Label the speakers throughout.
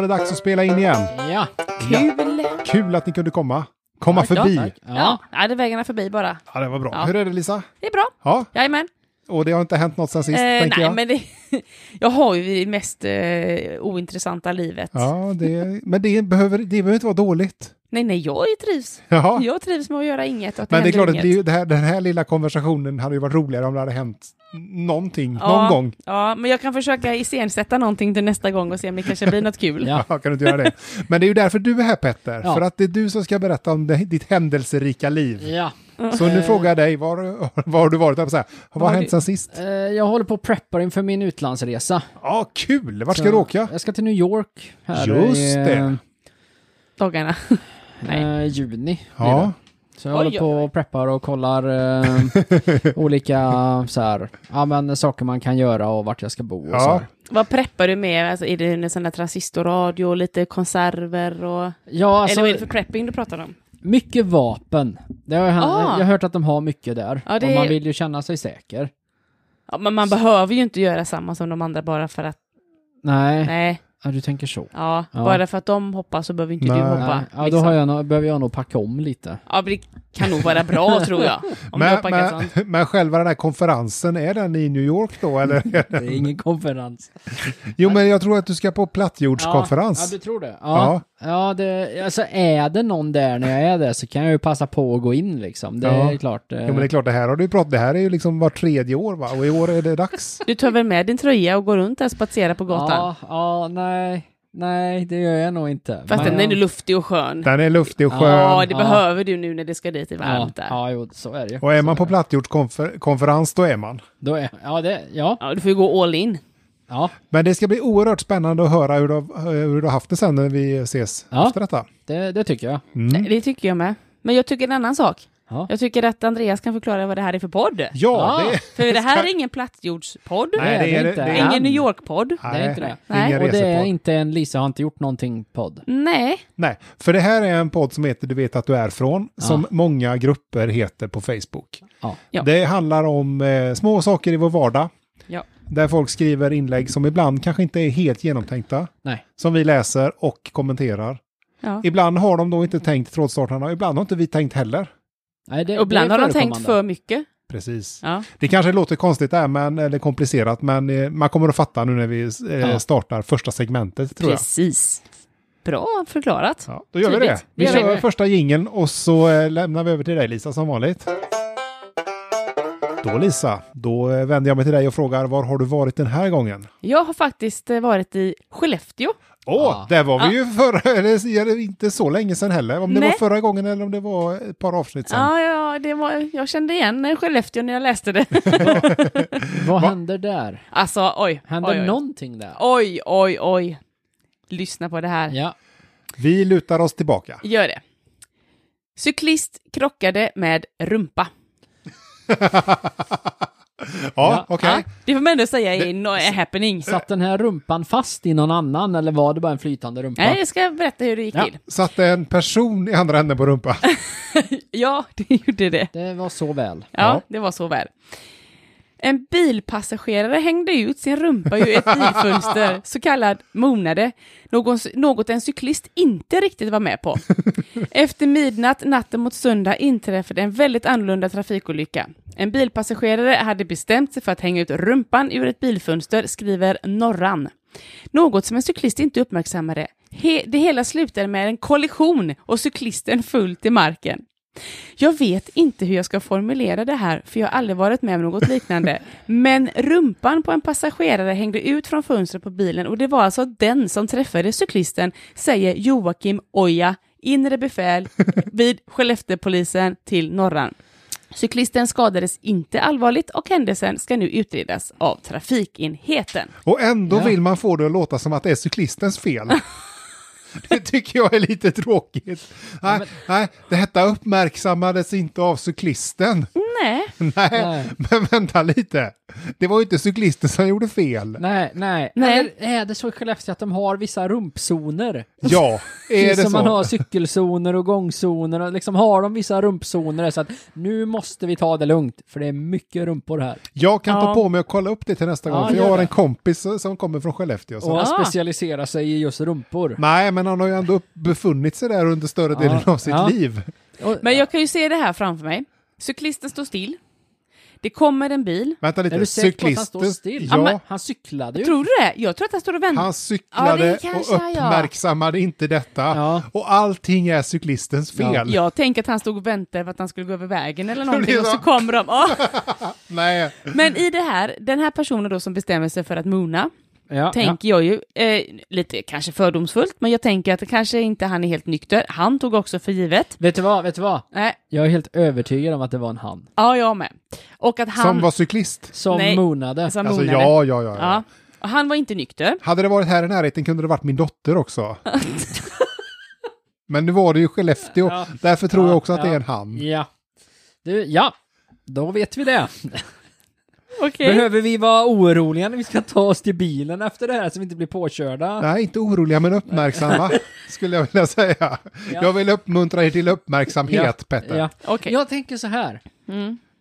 Speaker 1: det dags att spela in igen.
Speaker 2: Ja.
Speaker 1: Mm.
Speaker 3: Kul!
Speaker 1: Kul att ni kunde komma. Komma förbi.
Speaker 2: Ja.
Speaker 3: Ja, nej, det är vägarna förbi bara.
Speaker 1: Ja, det var bra.
Speaker 3: Ja.
Speaker 1: Hur är det Lisa?
Speaker 3: Det är bra.
Speaker 1: Ja,
Speaker 3: Jajamän.
Speaker 1: och det har inte hänt något sen sist,
Speaker 3: Eh, nej,
Speaker 1: tänker jag.
Speaker 3: men det, jag har ju det mest eh, ointressanta livet.
Speaker 1: Ja, det, men det behöver, det behöver inte vara dåligt.
Speaker 3: Nej, nej, jag trivs.
Speaker 1: Ja.
Speaker 3: Jag trivs med att göra inget och att
Speaker 1: Men det är
Speaker 3: händer
Speaker 1: klart att det
Speaker 3: inget.
Speaker 1: blir, ju- det här, den här lilla konversationen hade ju varit roligare om det hade hänt någonting, någon
Speaker 3: Ja.
Speaker 1: gång.
Speaker 3: Ja, men jag kan försöka iscensätta någonting till nästa gång och se om det kanske blir något kul.
Speaker 2: Ja.
Speaker 1: Ja, kan du inte göra det? Men det är ju därför du är här Petter,
Speaker 2: Ja.
Speaker 1: för att det är du som ska berätta om det, ditt händelserika liv.
Speaker 2: ja.
Speaker 1: Så nu frågar jag dig, var, var har du varit? Jag får säga, Vad har
Speaker 3: har
Speaker 1: hänt
Speaker 3: Eh. du-
Speaker 1: sen sist?
Speaker 2: Eh, Jag håller på och preppar inför min utlandsresa.
Speaker 1: Ja, kul! Vart ska
Speaker 2: Så
Speaker 1: du åka?
Speaker 2: Jag ska till New York här
Speaker 1: Just
Speaker 2: i, eh,
Speaker 1: det.
Speaker 3: Dagarna. Nej.
Speaker 2: eh, juni. blir
Speaker 1: Ja,
Speaker 2: det. Så jag
Speaker 3: Oj,
Speaker 2: håller på
Speaker 3: oj, oj.
Speaker 2: och preppar och kollar eh, olika så här, ja, men, saker man kan göra och vart jag ska bo och så
Speaker 1: ja.
Speaker 2: här.
Speaker 3: Vad preppar du med? Alltså, är det en sån där transistoradio och lite konserver och...
Speaker 2: Ja, alltså,
Speaker 3: Eller vad är det för prepping du pratar om?
Speaker 2: mycket vapen. Det har jag,
Speaker 3: Ah.
Speaker 2: jag har hört att de har mycket där.
Speaker 3: Ja, det
Speaker 2: Och
Speaker 3: är-
Speaker 2: man vill ju känna sig säker.
Speaker 3: Ja, men man behöver ju inte göra samma som de andra bara för att...
Speaker 2: Nej,
Speaker 3: Nej,
Speaker 2: Ja, du tänker så.
Speaker 3: ja.
Speaker 2: Ja.
Speaker 3: Bara för att de hoppar så behöver inte
Speaker 1: Nej.
Speaker 3: du hoppa.
Speaker 2: Nej. Ja, då
Speaker 3: liksom.
Speaker 2: har jag, nog- behöver jag nog packa om lite.
Speaker 3: Ja, men det kan nog vara bra tror jag. Om du
Speaker 1: Men,
Speaker 3: har packat
Speaker 1: men,
Speaker 3: sånt.
Speaker 1: men själva den här konferensen, är den i New York då? Eller?
Speaker 2: Det är ingen konferens.
Speaker 1: jo, men jag tror att du ska på
Speaker 2: Ja,
Speaker 1: plattjordskonferens.
Speaker 2: du tror det? Ja. Ja, det, alltså är det någon där när jag är där så kan jag ju passa på att gå in liksom. Det
Speaker 1: Ja.
Speaker 2: är klart. eh,
Speaker 1: Jo, men det är klart, det här har du ju pratat, det här är ju liksom var tredje år va? Och i år är det dags.
Speaker 3: Du tar väl med din tröja och går runt där och spatserar på gatan?
Speaker 2: Ja, ja, nej. Nej, det gör jag nog inte.
Speaker 3: Fast
Speaker 2: Men-
Speaker 3: den är ju luftig och skön.
Speaker 1: Den är luftig och skön.
Speaker 3: Ja, det
Speaker 2: Ja.
Speaker 3: behöver du nu när det ska dit i
Speaker 2: Ja,
Speaker 3: varmt där.
Speaker 2: ja,
Speaker 3: Ja.
Speaker 2: jo, så är det ju.
Speaker 1: Och är man på plattjordskonferens, då är man.
Speaker 2: Då är, ja, det, ja,
Speaker 3: du får ju gå all in.
Speaker 2: ja,
Speaker 1: Men det ska bli oerhört spännande att höra hur du, har- hur du har haft det sen när vi ses
Speaker 2: Ja.
Speaker 1: efter detta.
Speaker 2: det, det tycker jag.
Speaker 3: Nej, Det tycker jag med. Men jag tycker en annan sak.
Speaker 2: Ja.
Speaker 3: Jag tycker att Andreas kan förklara vad det här är för podd.
Speaker 1: Ja,
Speaker 2: Ja.
Speaker 1: det,
Speaker 3: För det här är ingen plattjordspodd.
Speaker 1: Nej, det är det- det är-
Speaker 3: Ingen New York-podd.
Speaker 2: Det är inte det.
Speaker 3: Nej.
Speaker 1: Ingen
Speaker 2: Och det är
Speaker 1: resepodd.
Speaker 2: inte en Lisa har inte gjort någonting-podd.
Speaker 3: Nej.
Speaker 1: Nej, för det här är en podd som heter Du vet att du är från, som många grupper heter på Facebook.
Speaker 2: Ja.
Speaker 3: Ja.
Speaker 1: Det handlar om eh, små saker i vår vardag,
Speaker 3: Ja.
Speaker 1: där folk skriver inlägg som ibland kanske inte är helt genomtänkta,
Speaker 2: Nej.
Speaker 1: som vi läser och kommenterar.
Speaker 3: Ja.
Speaker 1: Ibland har de då inte tänkt trådstartarna, och ibland har inte vi tänkt heller.
Speaker 2: Nej, det,
Speaker 3: Och ibland
Speaker 2: det är
Speaker 3: har de tänkt
Speaker 2: förekommande.
Speaker 3: för mycket.
Speaker 1: Precis.
Speaker 3: Ja.
Speaker 1: Det kanske låter konstigt där, men, eller komplicerat, men eh, man kommer att fatta nu när vi eh,
Speaker 2: Ja.
Speaker 1: startar första segmentet, tror jag.
Speaker 3: Precis. Bra förklarat.
Speaker 1: Ja, då gör vi
Speaker 3: Tydligt.
Speaker 1: det. Vi
Speaker 3: Det gör
Speaker 1: kör
Speaker 3: vi.
Speaker 1: första jingeln och så eh, lämnar vi över till dig Lisa som vanligt. Då Lisa, då eh, vänder jag mig till dig och frågar var har du varit den här gången?
Speaker 3: Jag har faktiskt eh, varit i Skellefteå.
Speaker 1: Åh,
Speaker 2: Ja.
Speaker 1: där var vi
Speaker 3: Ja.
Speaker 1: ju förra, eller är det inte så länge sedan heller. Om det
Speaker 3: Nej.
Speaker 1: var förra gången eller om det var ett par avsnitt sedan.
Speaker 3: Ja, ja det var, jag kände igen eh, Skellefteå när jag läste det.
Speaker 2: Vad händer där?
Speaker 3: Alltså, oj.
Speaker 2: Händer
Speaker 3: oj, oj.
Speaker 2: någonting där?
Speaker 3: Oj, oj, oj. Lyssna på det här.
Speaker 2: Ja.
Speaker 1: Vi lutar oss tillbaka.
Speaker 3: Gör det. Cyklist krockade med rumpa.
Speaker 1: Ja,
Speaker 2: Ja.
Speaker 1: okej.
Speaker 3: Ja, det får man ändå säga är no, a happening.
Speaker 2: Satt den här rumpan fast i någon annan eller var det bara en flytande rumpa?
Speaker 3: Nej, jag ska berätta hur det gick
Speaker 2: Ja.
Speaker 3: till.
Speaker 1: Satte en person i andra änden på rumpan.
Speaker 3: Ja, det gjorde det.
Speaker 2: Det var så väl.
Speaker 3: Ja,
Speaker 1: Ja.
Speaker 3: det var så väl. En bilpassagerare hängde ut sin rumpa ur ett bilfönster, så kallad monade, någon, något en cyklist inte riktigt var med på. Efter midnatt natten mot söndag inträffade en väldigt annorlunda trafikolycka. En bilpassagerare hade bestämt sig för att hänga ut rumpan ur ett bilfönster, skriver Norran. Något som en cyklist inte uppmärksammade. He- det hela slutade med en kollision och cyklisten föll till marken. Jag vet inte hur jag ska formulera det här, för jag har aldrig varit med om något liknande. Men rumpan på en passagerare hängde ut från fönstret på bilen och det var alltså den som träffade cyklisten, säger Joakim Oja, inre befäl vid Skellefteåpolisen till Norran. Cyklisten skadades inte allvarligt och händelsen ska nu utredas av trafikenheten.
Speaker 1: Och ändå
Speaker 2: Ja.
Speaker 1: vill man få det att låta som att det är cyklistens fel. Det tycker jag är lite tråkigt. Nej, nej, detta uppmärksammades inte av cyklisten.
Speaker 3: Nej.
Speaker 1: Nej,
Speaker 2: Nej,
Speaker 1: men vänta lite. Det var ju inte cyklisten som gjorde fel.
Speaker 2: nej. nej.
Speaker 3: Nej.
Speaker 2: Eller, är det så i Skellefteå att de har vissa rumpzoner?
Speaker 1: Ja, är det
Speaker 2: som man har
Speaker 1: så?
Speaker 2: cykelzoner och gångzoner och liksom har de vissa rumpzoner där, så att nu måste vi ta det lugnt för det är mycket rumpor här.
Speaker 1: Jag kan ta
Speaker 3: Ja.
Speaker 1: på mig och kolla upp det till nästa
Speaker 2: Ja,
Speaker 1: gång, för jag
Speaker 2: gör
Speaker 1: har
Speaker 2: det.
Speaker 1: en kompis som kommer från Skellefteå. Så.
Speaker 2: Och han
Speaker 3: Ah.
Speaker 2: specialiserar sig i just rumpor.
Speaker 1: Nej, men han har ju ändå upp- befunnit sig där under större
Speaker 2: Ja,
Speaker 1: delen av sitt
Speaker 2: ja.
Speaker 1: liv.
Speaker 2: Och,
Speaker 3: Men jag kan ju se det här framför mig. Cyklisten står still. Det kommer en bil.
Speaker 1: Vänta
Speaker 2: är du
Speaker 1: lite,
Speaker 2: säker på att han står
Speaker 1: cyklisten...
Speaker 2: still?
Speaker 3: Ja, men-
Speaker 1: Ja,
Speaker 2: Han cyklade ju.
Speaker 3: Tror du det? Jag tror att han står och väntar.
Speaker 1: han cyklade
Speaker 3: Ja, det kanske
Speaker 1: och
Speaker 3: han gör.
Speaker 1: uppmärksammade inte detta.
Speaker 2: Ja.
Speaker 1: Och allting är cyklistens fel.
Speaker 3: Jag tänker att han stod och väntade för att han skulle gå över vägen eller någonting
Speaker 1: blir
Speaker 3: och
Speaker 1: så.
Speaker 3: så kommer de. Ja.
Speaker 1: Nej,
Speaker 3: Men i det här, den här personen då som bestämmer sig för att mona,
Speaker 2: Ja, ja.
Speaker 3: tänker jag ju, eh, lite kanske fördomsfullt, men jag tänker att det kanske inte han är helt nykter. Han tog också för givet.
Speaker 2: Vet du vad, vet du vad?
Speaker 3: Nej,
Speaker 2: Jag är helt övertygad om att det var en han.
Speaker 3: ja, jag med. Och att han...
Speaker 1: som var cyklist.
Speaker 2: Som
Speaker 3: Nej.
Speaker 2: monade.
Speaker 3: som
Speaker 1: Alltså,
Speaker 3: monade.
Speaker 1: ja, ja, ja. ja.
Speaker 3: ja. Och han var inte nykter.
Speaker 1: Hade det varit här i närheten kunde det varit min dotter också. Men nu var det ju Skellefteå,
Speaker 2: Ja.
Speaker 1: därför tror
Speaker 2: Ja,
Speaker 1: jag också att det
Speaker 2: ja.
Speaker 1: är en han.
Speaker 2: Ja. Du, ja. Då vet vi det.
Speaker 3: Okej.
Speaker 2: Behöver vi vara oroliga när vi ska ta oss till bilen efter det här så vi inte blir påkörda?
Speaker 1: Nej, inte oroliga men uppmärksamma, skulle jag vilja säga. Jag vill uppmuntra er till uppmärksamhet, Petter.
Speaker 2: Ja.
Speaker 3: Okej. Mm.
Speaker 2: Jag tänker så här.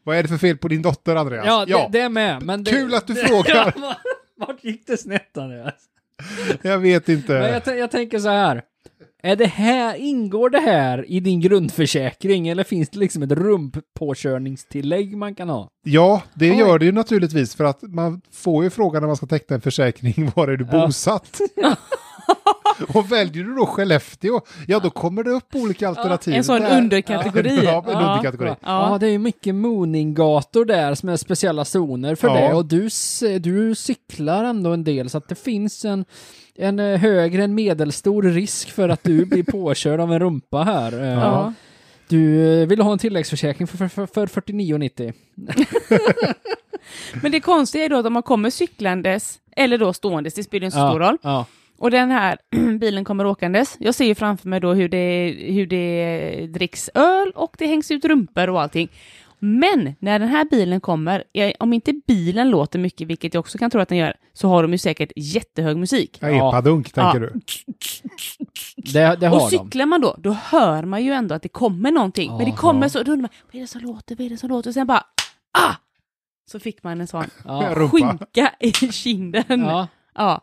Speaker 1: Vad är det för fel på din dotter, Andreas?
Speaker 2: Ja, Det, det är med. Men det...
Speaker 1: Kul att du frågar.
Speaker 2: Vart gick det snett Andreas?
Speaker 1: Jag vet inte.
Speaker 2: Men jag, tän- jag tänker så här. Är det här, ingår det här i din grundförsäkring eller finns det liksom ett rumppåkörningstillägg man kan ha?
Speaker 1: Ja, det
Speaker 2: Oj.
Speaker 1: gör det ju naturligtvis för att man får ju frågan när man ska teckna en försäkring, var är du
Speaker 2: Ja.
Speaker 1: bosatt? Och väljer du då Skellefteå, ja då kommer det upp olika alternativ.
Speaker 3: En sån
Speaker 1: Där-
Speaker 3: underkategori.
Speaker 1: Ja, en
Speaker 3: Ja.
Speaker 1: underkategori.
Speaker 2: Ja,
Speaker 3: Ja.
Speaker 2: det är ju mycket Moningator där som är speciella zoner för
Speaker 1: Ja.
Speaker 2: det och du, c- du cyklar ändå en del så att det finns en, en eh, högre än medelstor risk för att du blir påkörd av en rumpa här. Eh,
Speaker 3: Ja.
Speaker 2: Du eh, vill ha en tilläggsförsäkring för, för, för 49,90.
Speaker 3: Men det konstiga är då att om man kommer cyklandes, eller då ståendes, det spelar ju inte så stor roll,
Speaker 2: Ja.
Speaker 3: och den här bilen kommer åkandes, jag ser ju framför mig då hur det, hur det dricks öl och det hängs ut rumpor och allting. Men när den här bilen kommer, eh, om inte bilen låter mycket, vilket jag också kan tro att den gör, så har de ju säkert jättehög musik.
Speaker 1: Ja, Epadunk tänker
Speaker 3: Ja.
Speaker 1: du.
Speaker 2: Det, det
Speaker 3: Och
Speaker 2: har de.
Speaker 3: cyklar man då, då hör man ju ändå att det kommer någonting. Men det
Speaker 2: Ja,
Speaker 3: kommer
Speaker 2: ja.
Speaker 3: så, då undrar man, vad är det som låter, vad är det som låter? Och sen bara, ah! Så fick man en sån
Speaker 2: Ja.
Speaker 1: Rumpa.
Speaker 3: skinka i kinden. Ja.
Speaker 2: Ja.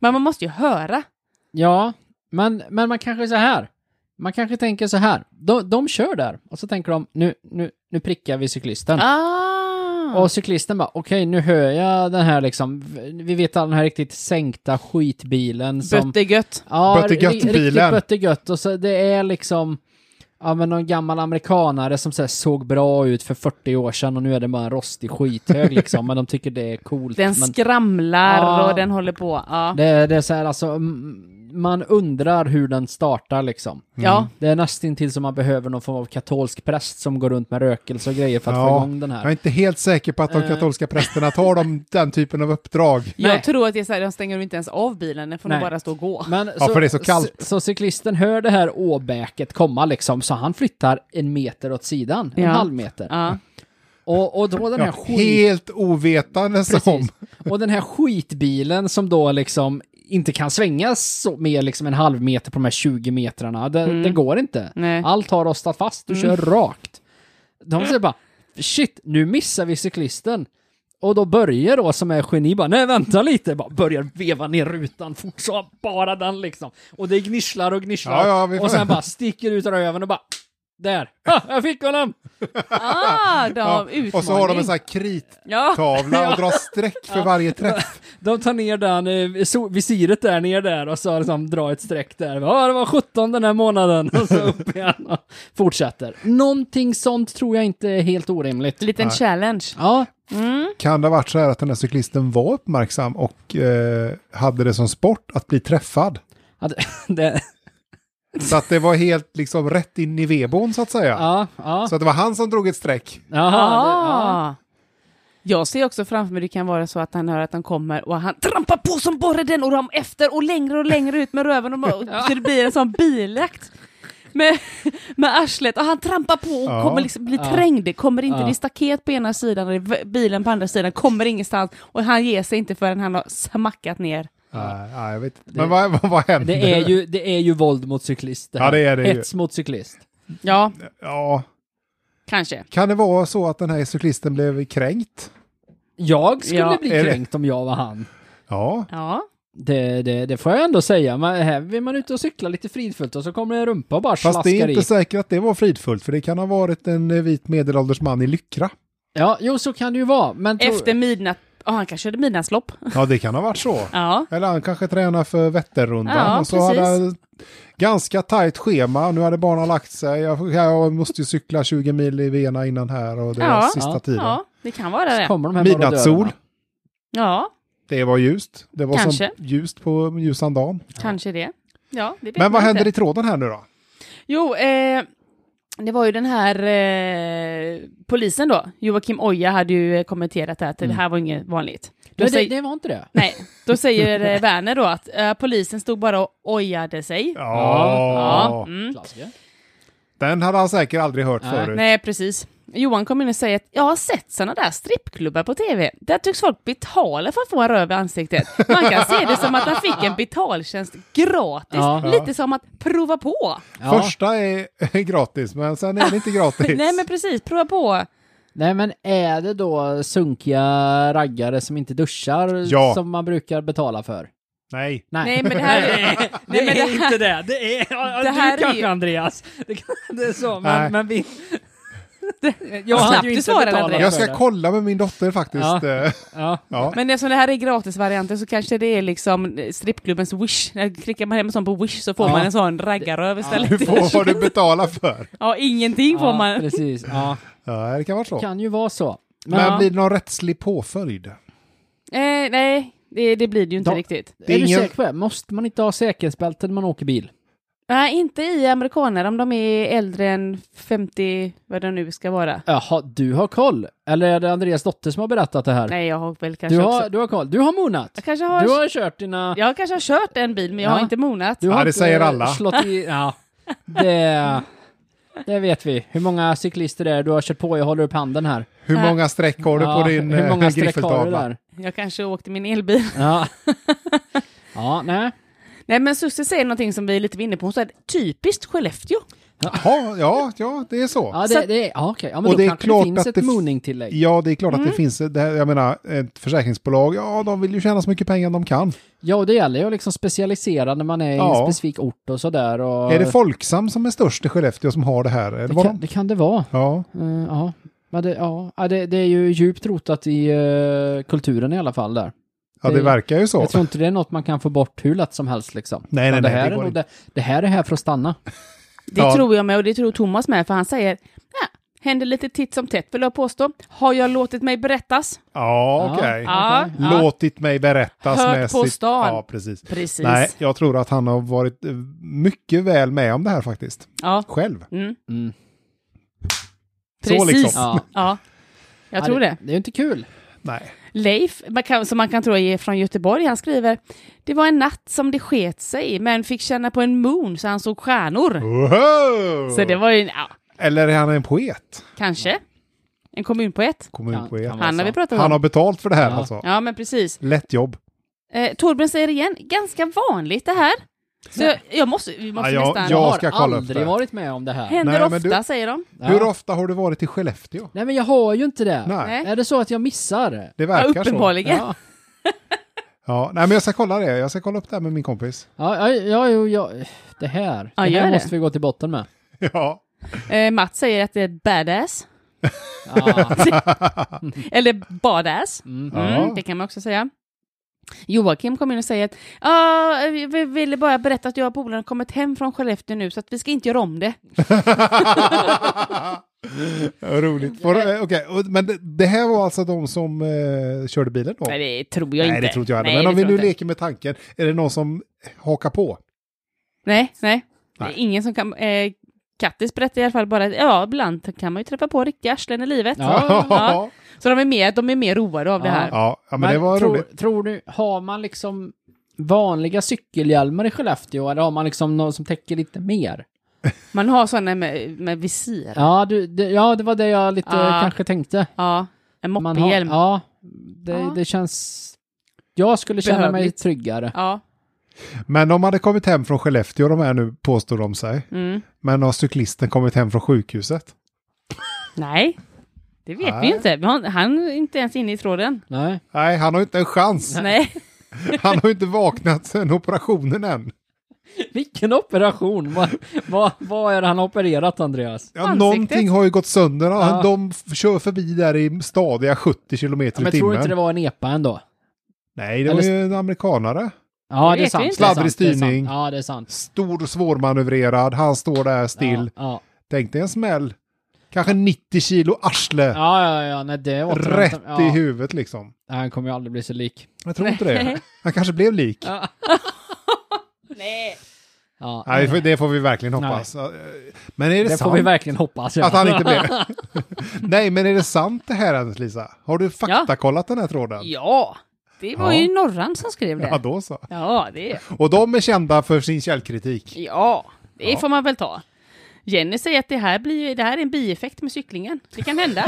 Speaker 3: Men man måste ju höra.
Speaker 2: ja, men, men man kanske så här. Man kanske tänker så här. De, de kör där och så tänker de nu, nu, nu prickar vi cyklisten.
Speaker 3: Ah.
Speaker 2: Och cyklisten bara, okej nu hör jag den här liksom, vi vet all den här riktigt sänkta skitbilen som...
Speaker 3: Böttegött.
Speaker 2: Ja,
Speaker 1: Böttegött
Speaker 2: ri- Riktigt
Speaker 1: bilen.
Speaker 2: böttegött och så det är liksom, ja men någon gammal amerikanare som så här, såg bra ut för 40 år sedan och nu är det bara en rostig skithög liksom, men de tycker det är coolt.
Speaker 3: Den
Speaker 2: men
Speaker 3: skramlar
Speaker 2: Ja.
Speaker 3: och den håller på. Ja.
Speaker 2: det, är- det är så här alltså, mm, man undrar hur den startar liksom.
Speaker 3: ja.
Speaker 1: Mm.
Speaker 2: Det är nästintill som man behöver någon form av katolsk präst som går runt med rökelse och grejer för att få
Speaker 1: Ja,
Speaker 2: igång den
Speaker 1: jag
Speaker 2: här.
Speaker 1: är inte helt säker på att de
Speaker 2: Eh.
Speaker 1: katolska prästerna tar dem den typen av uppdrag.
Speaker 2: Nej.
Speaker 3: Jag tror att det är så här, de stänger inte ens av bilen, den får nog
Speaker 2: Nej.
Speaker 3: bara stå och gå.
Speaker 2: Men
Speaker 1: Ja, för det är så kallt.
Speaker 2: Så, så cyklisten hör det här åbäket komma liksom, så han flyttar en meter åt sidan, en
Speaker 3: Ja.
Speaker 2: halv meter.
Speaker 3: Ja.
Speaker 2: Och, och då den här
Speaker 1: Ja,
Speaker 2: skit...
Speaker 1: helt ovetande som.
Speaker 2: Precis. Och den här skitbilen som då liksom inte kan svängas så mer liksom en halv meter på de här 20 metrarna. Det, det
Speaker 1: Mm.
Speaker 2: går inte.
Speaker 3: Nej.
Speaker 2: Allt har rostat fast, du kör rakt.
Speaker 1: Mm.
Speaker 2: De säger bara, shit, nu missar vi cyklisten. Och då börjar då som är geni bara, nej vänta lite, bara börjar veva ner rutan fort som bara den liksom. Och det gnisslar och gnisslar.
Speaker 1: Ja, ja, vi får-
Speaker 2: och sen bara sticker ut röven och bara, där, ah, jag fick honom!
Speaker 3: Ah, de,
Speaker 1: Ja,
Speaker 3: utmaning.
Speaker 1: och så har de en sån här krittavla
Speaker 3: ja.
Speaker 1: och drar streck för varje träff.
Speaker 2: De tar ner den, eh, so- visiret där ner där och så liksom drar ett streck där. Ja, det var 17 den här månaden och så upp igen och fortsätter. Någonting sånt tror jag inte är helt orimligt.
Speaker 3: Liten
Speaker 1: Nej.
Speaker 3: challenge.
Speaker 2: Ja,
Speaker 1: Kan det ha varit så här att den här cyklisten var uppmärksam och eh, hade det som sport att bli träffad?
Speaker 2: ja, det- det,
Speaker 1: Så att det var helt liksom rätt in i vedboden så att säga.
Speaker 2: ja, ja,
Speaker 1: Så att det var han som drog ett streck.
Speaker 2: jaha, det, ja.
Speaker 3: Ah. Jag ser också framför mig, det kan vara så att han hör att han kommer och han trampar på som borre den och de efter och längre och längre ut med röven och så det blir en sån biljakt. med, med arslet och han trampar på och
Speaker 1: Ja.
Speaker 3: kommer liksom bli
Speaker 2: Ja.
Speaker 3: trängd. Det kommer inte,
Speaker 2: Ja.
Speaker 3: det är staket på ena sidan och det är v- bilen på andra sidan, kommer ingenstans och han ger sig inte förrän han har smackat ner.
Speaker 1: Nej, nej, jag vet inte.
Speaker 2: Det-
Speaker 1: Men vad, vad, vad händer?
Speaker 2: Det är ju, det är ju våld mot cyklist.
Speaker 1: Ja,
Speaker 2: här.
Speaker 1: det är det ju.
Speaker 2: Hets mot cyklist.
Speaker 3: Ja,
Speaker 1: Ja,
Speaker 3: kanske.
Speaker 1: kan det vara så att den här cyklisten blev kränkt?
Speaker 2: Jag skulle
Speaker 3: Ja.
Speaker 2: bli
Speaker 1: Är det-
Speaker 2: kränkt om jag var han.
Speaker 1: Ja,
Speaker 3: Ja.
Speaker 2: Det, det, det får jag ändå säga. Man, här vill man ute och cykla lite fridfullt och så kommer en rumpa och bara
Speaker 1: fast det är
Speaker 2: slaskar
Speaker 1: inte
Speaker 2: i.
Speaker 1: säkert att det var fridfullt, för det kan ha varit en eh, vit medelålders man i Lyckra.
Speaker 2: Ja, jo, så kan det ju vara. Men tro-
Speaker 3: Efter midnatt, ja han kanske körde midnattslopp.
Speaker 1: Ja, det kan ha varit så.
Speaker 3: Ja.
Speaker 1: Eller han kanske tränar för Vätternrundan.
Speaker 3: Ja,
Speaker 1: och så
Speaker 3: precis.
Speaker 1: hade han ett ganska tajt schema. Nu hade barnen lagt sig. Jag, jag måste ju cykla 20 mil i Vena innan här och det var
Speaker 3: Ja,
Speaker 1: sista
Speaker 2: ja,
Speaker 1: tiden.
Speaker 3: ja, det kan vara det.
Speaker 2: kommer de här
Speaker 1: Midnattssol.
Speaker 2: marodörerna.
Speaker 3: Ja,
Speaker 1: Det var ljust. Det var
Speaker 3: Kanske.
Speaker 1: som ljust på ljusan dagen.
Speaker 3: kanske det. Ja, det vet
Speaker 1: Men vad
Speaker 3: man
Speaker 1: händer
Speaker 3: inte.
Speaker 1: i tråden här nu då?
Speaker 3: Jo, eh, det var ju den här eh, polisen då. Joakim Oja hade ju eh, kommenterat det här, att det här var inget vanligt. Då
Speaker 2: Nej, Mm. det,
Speaker 3: säger,
Speaker 2: det var inte det.
Speaker 3: nej, då säger eh, Werner då att eh, polisen stod bara och ojade sig. Ja, mm.
Speaker 2: Klassiker.
Speaker 1: Den hade han säkert aldrig hört
Speaker 2: Nej.
Speaker 1: förut.
Speaker 3: Nej, precis. Johan kom in och säger att jag har sett sådana där strippklubbar på tv. Där tycks folk betala för att få en röv i ansiktet. Man kan se det som att han fick en betaltjänst gratis.
Speaker 2: Ja.
Speaker 3: Lite som att prova på.
Speaker 2: Ja.
Speaker 1: Första är, är gratis, men sen är det inte gratis.
Speaker 3: Nej, men precis. Prova på.
Speaker 2: Nej, men är det då sunkiga raggare som inte duschar
Speaker 1: Ja.
Speaker 2: som man brukar betala för?
Speaker 1: Nej.
Speaker 3: Nej, men det här är... Nej, men det här...
Speaker 2: inte det. Det är, ja, ja,
Speaker 3: Det här är ju-
Speaker 2: Andreas. Det, kan- det är så,
Speaker 1: Nej.
Speaker 2: vi... Jag
Speaker 3: Vad
Speaker 2: hade
Speaker 3: snabbt
Speaker 2: ju
Speaker 3: du
Speaker 2: inte
Speaker 3: svarade,
Speaker 2: betalat
Speaker 3: Andreas.
Speaker 1: Jag
Speaker 2: för
Speaker 1: ska
Speaker 2: det.
Speaker 1: kolla med min dotter faktiskt.
Speaker 2: Ja.
Speaker 1: Eh,
Speaker 2: Ja.
Speaker 1: Ja.
Speaker 3: Men eftersom det här är gratisvarianten så kanske det är liksom eh, strippklubbens Wish. När klickar man hem en sån på Wish så får
Speaker 2: Ja.
Speaker 3: man en sån raggarröv istället.
Speaker 1: Du får vad du betalar för.
Speaker 3: Ja, ingenting får
Speaker 2: Ja,
Speaker 3: man.
Speaker 2: precis. Ja,
Speaker 1: Ja, det kan vara så.
Speaker 2: kan ju vara så. Men,
Speaker 1: Men
Speaker 3: Ja.
Speaker 1: blir det någon rättslig påföljd?
Speaker 3: Eh, nej, det, det blir det ju inte
Speaker 2: Då-
Speaker 3: riktigt.
Speaker 1: det är
Speaker 2: är du
Speaker 1: ingen-
Speaker 2: säker på det? Måste man inte ha säkerhetsbälte när man åker bil?
Speaker 3: Nej, inte i amerikaner om de är äldre än 50, vad det nu ska vara.
Speaker 2: Jaha, du har koll? Eller är det Andreas dotter som har berättat det här?
Speaker 3: Nej, jag har väl kanske
Speaker 2: du, har,
Speaker 3: också...
Speaker 2: du har koll. Du har monat.
Speaker 3: Jag kanske har...
Speaker 2: Du har kört dina...
Speaker 3: Jag kanske har kört en bil, men jag
Speaker 2: Ja.
Speaker 3: har inte monat.
Speaker 2: Du
Speaker 1: Ja,
Speaker 2: har
Speaker 1: det
Speaker 2: inte
Speaker 1: säger alla.
Speaker 2: Slått i... Ja, det, det vet vi. Hur många cyklister det är du har kört på. Jag håller upp handen här.
Speaker 1: Hur
Speaker 3: Nej.
Speaker 1: många streck har du
Speaker 2: Äh. Ja,
Speaker 1: på din
Speaker 2: hur
Speaker 1: eh,
Speaker 2: många streck har du
Speaker 1: griffeltavla?
Speaker 2: där?
Speaker 3: Jag kanske åkte min elbil.
Speaker 2: Ja. ja, nej.
Speaker 3: Nej, men Susie säger någonting som vi är lite var inne på. Hon säger typiskt Skellefteå.
Speaker 1: Jaha, ja, ja, det är så.
Speaker 2: Ja,
Speaker 3: Så-
Speaker 2: det, det, ja, okej. ja men
Speaker 1: Och
Speaker 2: då
Speaker 1: det är
Speaker 2: kanske
Speaker 1: klart
Speaker 2: det finns
Speaker 1: att
Speaker 2: ett
Speaker 1: det f-
Speaker 2: mooning-tillägg.
Speaker 1: Ja, det är klart
Speaker 2: Mm.
Speaker 1: att det finns, det här, jag menar, ett försäkringsbolag, ja, de vill ju tjäna så mycket pengar de kan.
Speaker 2: Ja, och det gäller ju att liksom specialisera när man är i
Speaker 1: Ja.
Speaker 2: en specifik ort och sådär. Och
Speaker 1: Är det Folksam som är störst i Skellefteå som har det här? Eller
Speaker 2: det,
Speaker 1: var
Speaker 2: kan,
Speaker 1: de?
Speaker 2: det kan det vara.
Speaker 1: Ja,
Speaker 2: Eh, ja, men det, ja. Ja, det, det är ju djupt rotat i eh, kulturen i alla fall där.
Speaker 1: ja
Speaker 2: det-
Speaker 1: det verkar ju så.
Speaker 2: Jag tror inte det är något man kan få bort hur lätt som helst liksom.
Speaker 1: Nej, nej,
Speaker 2: Men det,
Speaker 1: nej, det
Speaker 2: här
Speaker 1: går
Speaker 2: är nog
Speaker 1: inte.
Speaker 2: det, det här är här för att stanna.
Speaker 3: Det
Speaker 1: Ja.
Speaker 3: tror jag med och det tror Thomas med, för han säger ja, händer lite titt som tätt vill jag påstå. Har jag låtit mig berättas?
Speaker 1: Ja, okej.
Speaker 3: Ja,
Speaker 2: okej.
Speaker 3: ja.
Speaker 1: Låtit mig berättas
Speaker 3: Hört
Speaker 1: med
Speaker 3: på
Speaker 1: sitt-
Speaker 3: stan.
Speaker 1: Ja, precis.
Speaker 3: Precis.
Speaker 1: Nej, jag tror att han har varit eh, mycket väl med om det här faktiskt.
Speaker 3: Ja,
Speaker 1: Själv.
Speaker 3: mm.
Speaker 2: Mm.
Speaker 1: Så
Speaker 3: precis.
Speaker 1: liksom.
Speaker 2: Ja.
Speaker 3: Ja, jag
Speaker 2: Ja,
Speaker 3: tror det.
Speaker 2: Det är ju inte kul.
Speaker 1: Nej.
Speaker 3: Leif, man kan, som man kan tro är från Göteborg, han skriver Det var en natt som det sket sig, men fick känna på en moon så han såg stjärnor.
Speaker 1: Oho!
Speaker 3: Så det var ju, ja,
Speaker 1: Eller är han en poet?
Speaker 3: kanske. En kommunpoet.
Speaker 1: Kommunpoet.
Speaker 2: Ja, alltså. kan vara
Speaker 3: Han har
Speaker 2: så.
Speaker 3: vi pratat om.
Speaker 1: Han har betalt för det här
Speaker 2: Ja.
Speaker 1: alltså.
Speaker 3: Ja, men precis.
Speaker 1: Lätt jobb.
Speaker 3: Eh, Torbjörn säger igen, ganska vanligt det här. Så jag, jag måste, vi måste
Speaker 1: Ja, jag-
Speaker 3: nästan...
Speaker 1: jag-
Speaker 2: Jag
Speaker 1: ska
Speaker 2: har
Speaker 1: kolla upp
Speaker 2: aldrig
Speaker 1: det.
Speaker 2: varit med om det här.
Speaker 3: Händer
Speaker 1: Nej, men
Speaker 3: ofta,
Speaker 1: du-
Speaker 3: säger de.
Speaker 2: Ja.
Speaker 1: Hur ofta har du varit i Skellefteå?
Speaker 2: Nej men jag har ju inte det.
Speaker 1: Nej,
Speaker 3: Nej.
Speaker 2: Är det så att jag missar?
Speaker 1: det
Speaker 3: Ja,
Speaker 1: verkar så.
Speaker 3: uppenbarligen.
Speaker 2: Ja,
Speaker 1: Ja, nej, men jag ska kolla det. Jag ska kolla upp det här med min kompis.
Speaker 2: ja, ja, ja, jo, ja. det här.
Speaker 3: Ja,
Speaker 2: det
Speaker 3: gör
Speaker 2: här
Speaker 3: det.
Speaker 2: måste vi gå till botten med.
Speaker 1: Ja,
Speaker 3: Eh, Matt säger att det är badass.
Speaker 2: Ja.
Speaker 3: Eller badass.
Speaker 2: Mm.
Speaker 3: Mm,
Speaker 1: Ja.
Speaker 3: Det kan man också säga. Joakim kom in och säger att "Ja, vi- vi ville bara berätta att jag och polaren kommit hem från Skellefteå nu så att vi ska inte göra om det.
Speaker 1: Ja, roligt. Får, eh, okej, och- Men det, det här var alltså de som eh, körde bilen då?
Speaker 3: Nej, det tror jag
Speaker 1: Nej,
Speaker 3: inte.
Speaker 1: det tror inte jag heller.
Speaker 3: Nej,
Speaker 1: Men
Speaker 3: det
Speaker 1: om vi
Speaker 3: tror
Speaker 1: nu
Speaker 3: jag inte.
Speaker 1: leker med tanken, är det någon som hakar på?
Speaker 3: Nej, nej. Det är
Speaker 1: Nej.
Speaker 3: ingen som kan... Eh, Kattis berättade i alla fall bara att ja, ibland kan man ju träffa på riktiga arslen i livet.
Speaker 2: Ja.
Speaker 3: Ja. Så de är mer, de är mer roade av det
Speaker 2: Ja.
Speaker 3: här.
Speaker 1: Ja, ja, men det var
Speaker 2: tror,
Speaker 1: roligt.
Speaker 2: Tror du, har man liksom vanliga cykelhjälmar i Skellefteå eller har man liksom någon som täcker lite mer?
Speaker 3: Man har sådana med, med visir. Ja.
Speaker 2: Ja, du, det, ja, det var det jag lite
Speaker 3: Ja.
Speaker 2: kanske tänkte.
Speaker 3: En
Speaker 2: Man har-
Speaker 3: moppehjälm. Ja.
Speaker 2: Ja, det,
Speaker 3: Ja.
Speaker 2: det känns... Jag skulle känna mig
Speaker 3: Behövligt.
Speaker 2: tryggare.
Speaker 1: Men de hade kommit hem från Skellefteå, de här nu, påstår de sig.
Speaker 3: Mm.
Speaker 1: Men har cyklisten kommit hem från sjukhuset?
Speaker 3: Nej, det vet vi
Speaker 1: Nej.
Speaker 3: ju inte. Vi har- Han är inte ens inne i tråden.
Speaker 2: Nej.
Speaker 1: Nej, han har ju inte en chans.
Speaker 3: Nej.
Speaker 1: Han har ju inte vaknat sen operationen än.
Speaker 2: Vilken operation! Vad, vad, vad är det han har opererat, Andreas?
Speaker 1: Ja,
Speaker 3: Ansiktet.
Speaker 1: någonting har ju gått sönder.
Speaker 2: Ja.
Speaker 1: De f- kör förbi där i stadiga 70 kilometer
Speaker 2: Ja, men
Speaker 1: i timmen.
Speaker 2: tror du inte det var en EPA ändå?
Speaker 1: Nej, det var
Speaker 2: Eller-
Speaker 1: ju en amerikanare.
Speaker 2: Ja,
Speaker 3: Det
Speaker 2: det är
Speaker 3: vet vi
Speaker 2: sant.
Speaker 3: inte.
Speaker 2: det är sant,
Speaker 1: Sladdrig
Speaker 2: det är sant.
Speaker 1: styrning.
Speaker 2: Ja, det är sant.
Speaker 1: Stor, svårmanövrerad. Han står där still.
Speaker 2: Ja,
Speaker 1: Tänk dig en smäll. Kanske 90 kilo arsle.
Speaker 2: ja, ja, ja, ja nej, det var
Speaker 1: rätt
Speaker 2: ja.
Speaker 1: i huvudet liksom.
Speaker 2: Han kommer ju aldrig bli så lik.
Speaker 1: Jag tror inte det. Han kanske blev lik.
Speaker 2: Ja.
Speaker 3: Nej.
Speaker 2: Ja,
Speaker 1: Nej, för- det får vi verkligen
Speaker 2: Nej.
Speaker 1: hoppas. Men är det,
Speaker 2: det får
Speaker 1: sant
Speaker 2: vi verkligen hoppas. Ja.
Speaker 1: att han inte blev? Nej, men är det sant det här, Alice-Lisa? Har du faktakollat den här tråden?
Speaker 3: Ja, det var
Speaker 1: Ja.
Speaker 3: ju Norran som skrev
Speaker 1: Ja,
Speaker 3: det.
Speaker 1: då så.
Speaker 3: Ja, det är...
Speaker 1: Och de är kända för sin källkritik.
Speaker 3: Ja, det
Speaker 1: Ja.
Speaker 3: får man väl ta. Jenny säger att det här, blir, det här är en bieffekt med cyklingen. Det kan hända.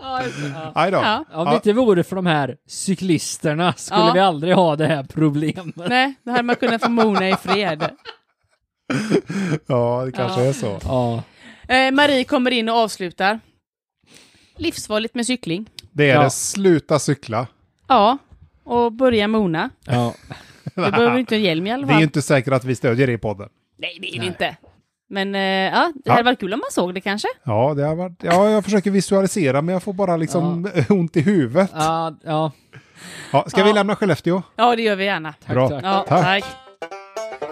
Speaker 2: Ja, just det. Ja.
Speaker 1: Aj då.
Speaker 3: Ja.
Speaker 2: Om det inte vore för de här cyklisterna skulle
Speaker 3: Ja.
Speaker 2: vi aldrig ha det här problemet.
Speaker 3: Nej, det hade man kunnat förmona i fred.
Speaker 1: Ja, det kanske
Speaker 3: Ja.
Speaker 1: är så.
Speaker 2: Ja,
Speaker 3: Eh, Marie kommer in och avslutar. Livsfarligt med cykling.
Speaker 1: Det är
Speaker 2: Ja.
Speaker 1: det. Sluta cykla.
Speaker 3: Ja, och börja mona.
Speaker 2: ja.
Speaker 3: Du behöver inte en hjälm i alla
Speaker 1: Det är
Speaker 3: fall.
Speaker 1: ju inte säkert att vi stödjer det i podden.
Speaker 3: Nej, det är det inte. Men eh, ja, det hade
Speaker 1: Ja.
Speaker 3: varit kul om man såg det kanske.
Speaker 1: Ja, det har varit, ja, jag försöker visualisera, men jag får bara liksom ont i huvudet.
Speaker 2: ja, ja.
Speaker 1: Ja, ska vi
Speaker 3: Ja.
Speaker 1: lämna Skellefteå?
Speaker 3: Ja, det gör vi gärna.
Speaker 2: Tack,
Speaker 1: Bra.
Speaker 2: tack.
Speaker 3: Ja,
Speaker 1: Tack.
Speaker 3: tack.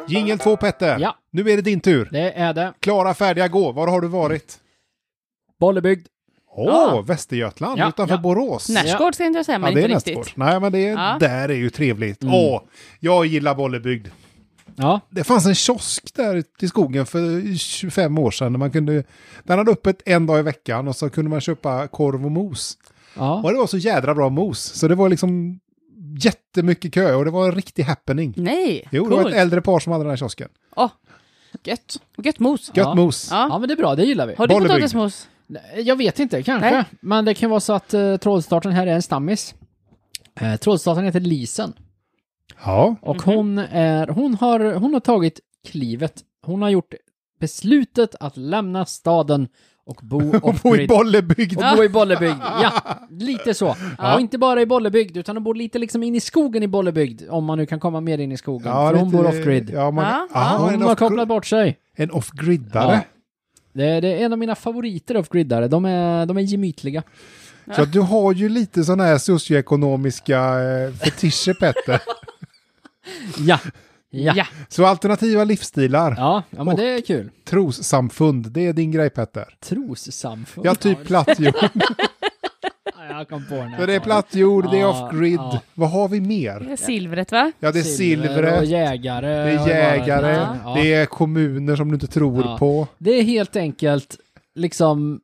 Speaker 1: Jingel 2, Petter.
Speaker 2: Ja.
Speaker 1: Nu är det din tur.
Speaker 2: Det är det.
Speaker 1: Klara, färdiga, gå. Var har du varit?
Speaker 2: Bollebygd.
Speaker 1: Åh,
Speaker 2: Ja.
Speaker 1: Västergötland
Speaker 2: Ja,
Speaker 1: utanför
Speaker 2: ja.
Speaker 1: Borås.
Speaker 3: Närsgård ska jag inte säga, men
Speaker 1: Ja, det är
Speaker 3: inte
Speaker 1: nästgård.
Speaker 3: riktigt.
Speaker 1: Nej, men det är,
Speaker 3: Ja. Mm.
Speaker 1: där är ju trevligt. Åh, jag gillar Bollebygd.
Speaker 2: Ja,
Speaker 1: Det fanns en kiosk där ute i skogen för 25 år sedan. Där man kunde, den hade öppet en dag i veckan och så kunde man köpa korv och mos.
Speaker 2: ja.
Speaker 1: Och det var så jädra bra mos. Så det var liksom jättemycket kö och det var en riktig happening.
Speaker 3: Nej,
Speaker 1: Jo, det var ett äldre par som hade den här kiosken.
Speaker 3: Åh, gött. Gött mos.
Speaker 1: Gött
Speaker 2: Ja.
Speaker 1: mos.
Speaker 3: Ja.
Speaker 2: ja men det är bra, det gillar vi.
Speaker 3: Har du
Speaker 1: Bollebygd.
Speaker 3: potatismos?
Speaker 2: Nej, Jag vet inte, kanske.
Speaker 3: Nej.
Speaker 2: Men det kan vara så att uh, trådstarten här är en stammis. Uh, trådstarten heter Lisen.
Speaker 1: Ja.
Speaker 2: Och hon, är, hon, har, hon har tagit klivet. Hon har gjort beslutet att lämna staden och bo
Speaker 1: Och bo i
Speaker 2: off-grid.
Speaker 1: Bollebygd.
Speaker 2: Och bo i Bollebygd, ja. Lite så. Och inte bara i Bollebygd, utan hon bor lite liksom in i skogen i Bollebygd. Om man nu kan komma mer in i skogen. för hon
Speaker 1: lite-
Speaker 2: bor off-grid.
Speaker 1: Ja, man,
Speaker 3: Ja.
Speaker 1: Aha,
Speaker 2: hon
Speaker 1: en,
Speaker 2: har
Speaker 1: off
Speaker 2: kopplat bort sig.
Speaker 1: en off-griddare.
Speaker 2: Det, det är en av mina favoriter off-gridare. De är, de är gemytliga.
Speaker 1: Så att du har ju lite sådana här socioekonomiska eh, fetischer, Petter.
Speaker 2: Ja. Ja. Ja,
Speaker 1: Så alternativa livsstilar,
Speaker 2: ja, men det är kul.
Speaker 1: trossamfund, det är din grej, Petter.
Speaker 2: Trossamfund?
Speaker 1: Ja, typ platt jord.
Speaker 2: Ja, jag kom på den här.
Speaker 1: Så det är platt jord, det är
Speaker 2: Ja,
Speaker 1: off-grid.
Speaker 2: ja.
Speaker 1: Vad har vi mer?
Speaker 3: Det är silvret, va?
Speaker 1: Ja, det är
Speaker 2: och
Speaker 1: silvret,
Speaker 2: jägare.
Speaker 1: det är jägare,
Speaker 2: Ja.
Speaker 1: det är kommuner som du inte tror
Speaker 2: Ja.
Speaker 1: på.
Speaker 2: Det är helt enkelt liksom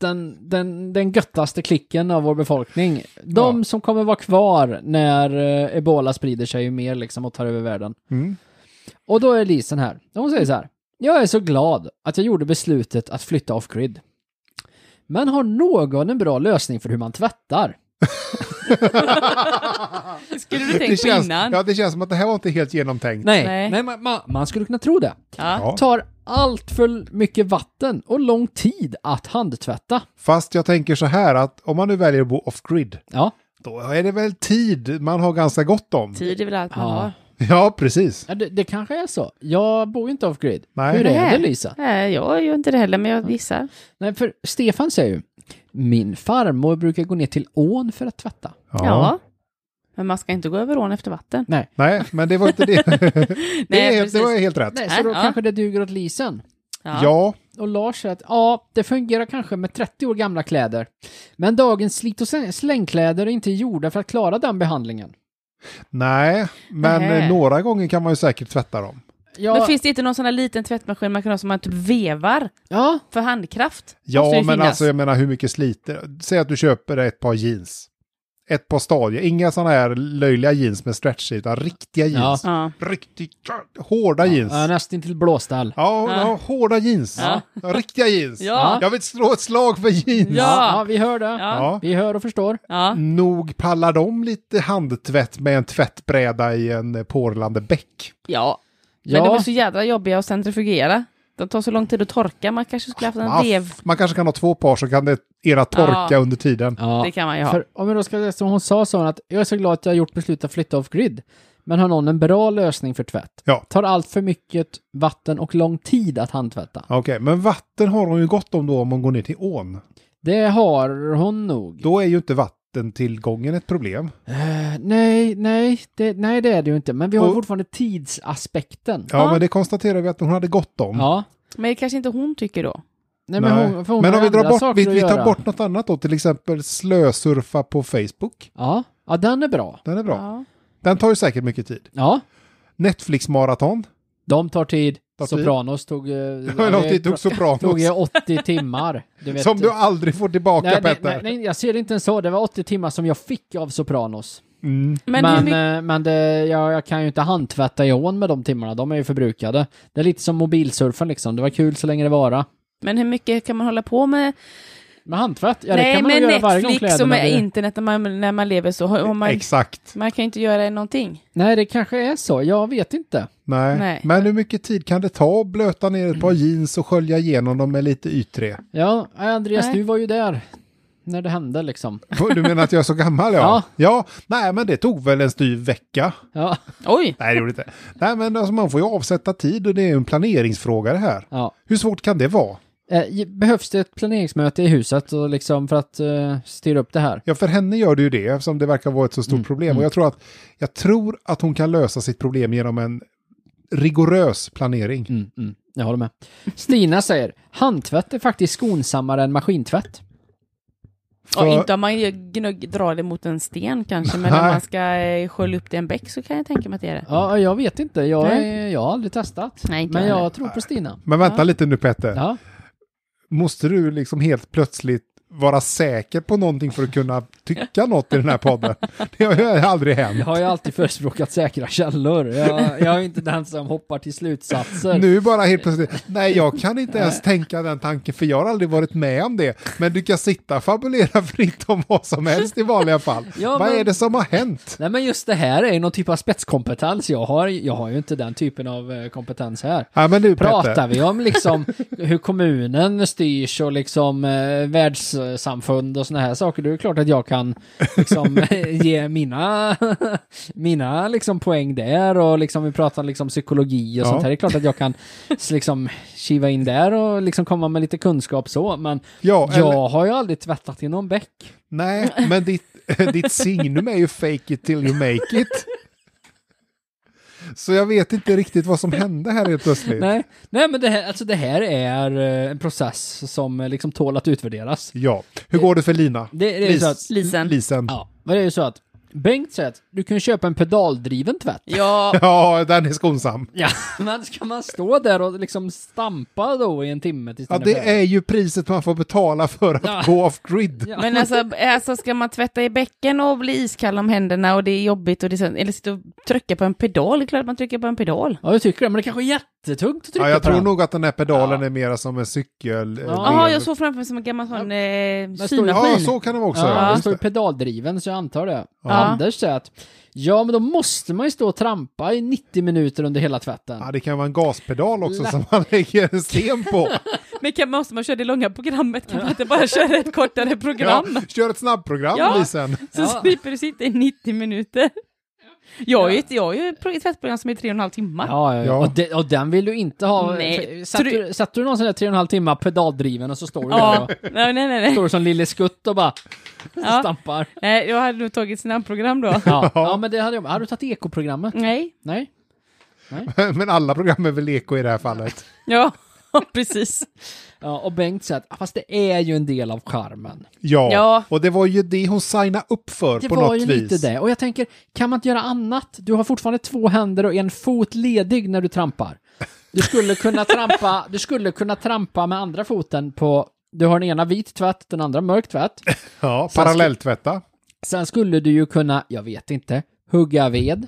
Speaker 2: den, den, den göttaste klicken av vår befolkning. De
Speaker 1: Ja.
Speaker 2: som kommer vara kvar när eh, ebola sprider sig ju mer liksom och tar över världen.
Speaker 1: Mm.
Speaker 2: Och då är Lisen här. Hon säger så här. Jag är så glad att jag gjorde beslutet att flytta off-grid. Men har någon en bra lösning för hur man tvättar?
Speaker 3: Det skulle du
Speaker 1: Det
Speaker 3: tänkt på
Speaker 1: känns,
Speaker 3: innan.
Speaker 1: ja, det känns som att det här var inte helt genomtänkt.
Speaker 2: Nej,
Speaker 3: Nej.
Speaker 2: Nej man, man, man skulle kunna tro det.
Speaker 3: Ja.
Speaker 1: Ja.
Speaker 2: tar allt för mycket vatten och lång tid att handtvätta.
Speaker 1: Fast jag tänker så här att om man nu väljer att bo off-grid,
Speaker 2: Ja,
Speaker 1: då är det väl tid man har ganska gott om.
Speaker 3: Tid är väl allt man
Speaker 2: Ja.
Speaker 3: har.
Speaker 1: Ja, precis.
Speaker 2: ja, det, det kanske är så. Jag bor ju inte off-grid.
Speaker 1: Nej.
Speaker 2: Hur är
Speaker 3: Nej.
Speaker 2: det Lisa?
Speaker 3: Nej, Eh, jag gör inte det heller, men jag gissar.
Speaker 2: Nej, för Stefan säger ju, min farmor brukar gå ner till ån för att tvätta.
Speaker 3: Ja. Men man ska inte gå över ån efter vatten.
Speaker 2: Nej,
Speaker 1: Nej, men det var inte det. det,
Speaker 3: Nej,
Speaker 1: är, helt-
Speaker 3: precis.
Speaker 1: det var helt rätt.
Speaker 2: Nej så då
Speaker 3: Äh, Ja.
Speaker 2: kanske det duger åt Lisen.
Speaker 3: Ja.
Speaker 1: Ja,
Speaker 2: Och Lars säger att ja, det fungerar kanske med 30 år gamla kläder. Men dagens slit och slängkläder är inte gjorda för att klara den behandlingen.
Speaker 1: nej, men
Speaker 3: Nähä.
Speaker 1: eh, några gånger kan man ju säkert tvätta dem.
Speaker 2: Ja,
Speaker 3: Men finns det inte någon sån här liten tvättmaskin man kan ha som man typ vevar
Speaker 2: ja,
Speaker 3: för handkraft?
Speaker 1: Ja,
Speaker 3: Måste
Speaker 1: men
Speaker 3: det finnas.
Speaker 1: alltså jag menar hur mycket sliter. Säg att du köper ett par jeans. ett par stadier. Inga sådana här löjliga jeans med stretch utan riktiga jeans.
Speaker 3: Ja.
Speaker 1: Riktigt hårda jeans.
Speaker 2: Ja, nästan till blåställ.
Speaker 1: Ja,
Speaker 3: Ja.
Speaker 1: ja, hårda jeans.
Speaker 3: Ja.
Speaker 1: Ja, Riktiga jeans.
Speaker 3: Ja.
Speaker 1: Jag vill slå ett slag för jeans.
Speaker 3: Ja.
Speaker 2: ja, vi hör det.
Speaker 3: Ja.
Speaker 1: Ja.
Speaker 2: Vi hör och förstår.
Speaker 3: Ja.
Speaker 1: Nog pallar de lite handtvätt med en tvättbräda i en eh, porlande bäck.
Speaker 3: ja. Men
Speaker 2: Ja.
Speaker 3: de är så jädra jobbiga att centrifugera. De tar så lång tid att torka. Man kanske skulle haft en
Speaker 1: Ah,
Speaker 3: vev.
Speaker 1: f- Man kanske kan ha två par så kan det era torka
Speaker 3: Ja.
Speaker 1: under tiden.
Speaker 2: Ja.
Speaker 3: Det kan man ju ha.
Speaker 2: För om jag då ska, som hon sa, sa hon att jag är så glad att jag har gjort beslut att flytta off grid. Men har någon en bra lösning för tvätt?
Speaker 1: Ja.
Speaker 2: Tar allt för mycket vatten och lång tid att handtvätta?
Speaker 1: Okej, men vatten har hon ju gott om då om hon går ner till ån.
Speaker 2: Det har hon nog.
Speaker 1: Då är ju inte vattentillgången ett problem.
Speaker 2: Eh, nej, nej det, nej, det är det ju inte. Men vi har
Speaker 1: Och-
Speaker 2: fortfarande tidsaspekten.
Speaker 1: Ja,
Speaker 3: Ja.
Speaker 1: men det konstaterar vi att hon hade gott om.
Speaker 2: Ja.
Speaker 3: Men det kanske inte hon tycker då.
Speaker 2: Nej,
Speaker 1: Nej.
Speaker 2: Men, hon, för hon
Speaker 1: Men
Speaker 2: har
Speaker 1: om vi
Speaker 2: andra
Speaker 1: drar bort,
Speaker 2: saker
Speaker 1: vi,
Speaker 2: att
Speaker 1: vi tar
Speaker 2: göra.
Speaker 1: bort något annat då, till exempel slösurfa på Facebook.
Speaker 2: Ja. ja, den är bra.
Speaker 1: Den är bra.
Speaker 3: Ja.
Speaker 1: Den tar ju säkert mycket tid.
Speaker 2: Ja,
Speaker 1: Netflix-maraton.
Speaker 2: de tar tid.
Speaker 1: Tar tid.
Speaker 2: Sopranos tog... eh, ja,
Speaker 1: Hur lång tid tog
Speaker 2: tog ju
Speaker 1: Sopranos?
Speaker 2: 80 timmar. Du vet.
Speaker 1: Som du aldrig får tillbaka
Speaker 2: nej, nej,
Speaker 1: Petter.
Speaker 2: nej, nej, jag ser det inte ens så. Det var 80 timmar som jag fick av Sopranos.
Speaker 1: Mm.
Speaker 3: Men,
Speaker 2: Men,
Speaker 3: hur
Speaker 2: men,
Speaker 3: mycket...
Speaker 2: eh, men det, jag, jag kan ju inte handtvätta i ån med de timmarna. De är ju förbrukade. Det är lite som mobilsurfen liksom. Det var kul så länge det vara.
Speaker 3: men hur mycket kan man hålla på med?
Speaker 2: Med handtvätt? eh, Ja, det
Speaker 3: Nej,
Speaker 2: kan man
Speaker 3: med
Speaker 2: ju göra varje gång
Speaker 3: Netflix och
Speaker 2: kläderna
Speaker 3: med
Speaker 2: blir-
Speaker 3: internet när man, när man lever så. Har- Om man,
Speaker 1: Exakt.
Speaker 3: man kan ju inte göra någonting.
Speaker 2: Nej, det kanske är så. Jag vet inte.
Speaker 1: Nej.
Speaker 3: Nej. Mm.
Speaker 1: Men hur mycket tid kan det ta att blöta ner ett par jeans och skölja igenom dem med lite Y3?
Speaker 2: Ja, Andreas,
Speaker 3: Nej.
Speaker 2: du var ju där. När det hände liksom.
Speaker 1: Du menar att jag är så gammal? Ja.
Speaker 2: Ja.
Speaker 1: ja. Nej, men det tog väl en styv vecka.
Speaker 2: Ja.
Speaker 3: Oj!
Speaker 1: Nej, det gjorde det inte. Nej, men alltså, man får ju avsätta tid och det är ju en planeringsfråga det här.
Speaker 2: ja.
Speaker 1: Hur svårt kan det vara?
Speaker 2: Eh, ge- behövs det ett planeringsmöte i huset och liksom för att eh, styra upp det här?
Speaker 1: Ja, för henne gör det ju det, eftersom det verkar vara ett så stort
Speaker 3: Mm,
Speaker 1: problem. Och jag tror, att, jag tror att hon kan lösa sitt problem genom en rigorös planering.
Speaker 2: Mm, mm, jag håller med. Stina säger, handtvätt är faktiskt skonsammare än maskintvätt.
Speaker 3: Ja,
Speaker 1: För-
Speaker 3: inte om man ju gnugg, drar det mot en sten kanske, men om
Speaker 1: Nej.
Speaker 3: man ska eh, skölja upp det i en bäck så kan jag tänka mig att det är det.
Speaker 2: Ja, jag vet inte. Jag,
Speaker 3: Nej.
Speaker 2: är, jag har aldrig testat.
Speaker 3: Nej, inte
Speaker 2: men
Speaker 3: jag
Speaker 2: jag
Speaker 3: heller.
Speaker 2: tror på Stina.
Speaker 1: Men vänta
Speaker 3: Ja.
Speaker 1: lite nu Petter.
Speaker 2: Ja.
Speaker 1: Måste du liksom helt plötsligt vara säker på någonting för att kunna tycka något i den här podden? Det har ju aldrig hänt.
Speaker 2: Jag har ju alltid förespråkat säkra källor. Jag, jag är inte den som hoppar till slutsatser.
Speaker 1: Nu bara helt plötsligt, nej jag kan inte ens tänka den tanken för jag har aldrig varit med om det. Men du kan sitta och fabulera fritt om vad som helst i vanliga fall.
Speaker 2: Ja,
Speaker 1: Vad
Speaker 2: men-
Speaker 1: är det som har hänt?
Speaker 2: Nej men just det här är ju någon typ av spetskompetens. Jag har, jag har ju inte den typen av eh, kompetens här.
Speaker 1: Ja, men du Petter,
Speaker 2: Pratar vi om liksom hur kommunen styrs och liksom eh, världssamfund och såna här saker, då är det klart att jag kan liksom ge mina, mina liksom poäng där och liksom vi pratar liksom psykologi och
Speaker 1: Ja.
Speaker 2: sånt här. Det är klart att jag kan s- liksom kiva in där och liksom komma med lite kunskap så, men
Speaker 1: ja, eller,
Speaker 2: jag har ju aldrig tvättat i någon bäck.
Speaker 1: nej, men ditt, ditt signum är ju fake it till you make it. Så jag vet inte riktigt vad som hände här helt plötsligt.
Speaker 2: Nej, nej men det här, alltså det här är eh, en process som eh, liksom tål att utvärderas.
Speaker 1: Ja, hur går det för Lina?
Speaker 2: Det, det är ju så att
Speaker 3: Lisen.
Speaker 1: Lisen.
Speaker 2: Ja, men det är ju så att Bengt säger att du kan köpa en pedaldriven tvätt.
Speaker 3: Ja,
Speaker 1: Ja, den är skonsam.
Speaker 2: Ja, men ska man stå där och liksom stampa då i en timme tills
Speaker 1: Ja,
Speaker 2: den är
Speaker 1: det
Speaker 2: färdig?
Speaker 1: är ju priset man får betala för att
Speaker 2: Ja.
Speaker 1: gå off-grid.
Speaker 2: Ja.
Speaker 3: men alltså, alltså ska man tvätta i bäcken och bli iskall om händerna och det är jobbigt och det är så, eller sitta och trycka på en pedal, det är klart man trycker på en pedal.
Speaker 2: Ja, jag tycker det, men det kanske är jättetungt att trycka
Speaker 1: Ja, jag
Speaker 2: på
Speaker 1: tror
Speaker 2: den.
Speaker 1: nog att den här pedalen
Speaker 2: Ja.
Speaker 1: är mera som en cykel. eh,
Speaker 2: Ja.
Speaker 3: Jaha,
Speaker 1: del.
Speaker 3: jag såg framför mig som en gammal sån eh,
Speaker 2: står-
Speaker 1: Ja,
Speaker 3: symaskin.
Speaker 1: så kan det vara också.
Speaker 2: Ja,
Speaker 1: Ja,
Speaker 2: det
Speaker 1: just
Speaker 2: står ju
Speaker 1: det.
Speaker 2: pedaldriven, så jag antar det.
Speaker 1: Ja.
Speaker 2: Anders säger att ja, men då måste man ju stå och trampa i 90 minuter under hela tvätten.
Speaker 1: Ja, det kan vara en gaspedal också som man lägger en sten på.
Speaker 3: Men kan, måste man köra det långa programmet? Kan man inte bara köra ett kortare
Speaker 1: Ja,
Speaker 3: program?
Speaker 1: kör ett snabbprogram,
Speaker 3: Ja.
Speaker 1: Lisen.
Speaker 3: Så
Speaker 2: Ja.
Speaker 3: slipper du sitta i 90 minuter. Jag har ju ett, jag har ju ett tvättprogram som är tre och en halv timme.
Speaker 2: Ja, ja, ja.
Speaker 1: Ja.
Speaker 2: Och, de, och den vill du inte ha.
Speaker 3: Nej.
Speaker 2: Satt du, satt du någon sån där tre och en halv timme pedaldriven och så står du där och
Speaker 3: nej, nej, nej.
Speaker 2: står du som Lille Skutt och bara
Speaker 3: Ja.
Speaker 2: stampar.
Speaker 3: Nej, jag hade nog tagit snabbprogram då.
Speaker 2: Ja. ja, men det hade jag. Har du tagit ekoprogrammet?
Speaker 3: Nej,
Speaker 2: Nej.
Speaker 1: Men alla program är väl eko i det här fallet.
Speaker 3: ja, precis.
Speaker 2: Ja, och Bengt säger att "Ah, fast det är ju en del av charmen.
Speaker 1: Ja.
Speaker 3: Ja.
Speaker 1: och det var ju det hon signade upp för
Speaker 2: Det
Speaker 1: på
Speaker 2: var
Speaker 1: något
Speaker 2: ju
Speaker 1: vis.
Speaker 2: lite det. Och jag tänker, kan man inte göra annat? Du har fortfarande två händer och en fot ledig när du trampar. Du skulle kunna trampa, du skulle kunna trampa med andra foten på du har den ena vit tvätt, den andra mörk tvätt.
Speaker 1: Ja,
Speaker 2: Sen
Speaker 1: parallelltvätta.
Speaker 2: Sen skulle du ju kunna, jag vet inte, hugga ved,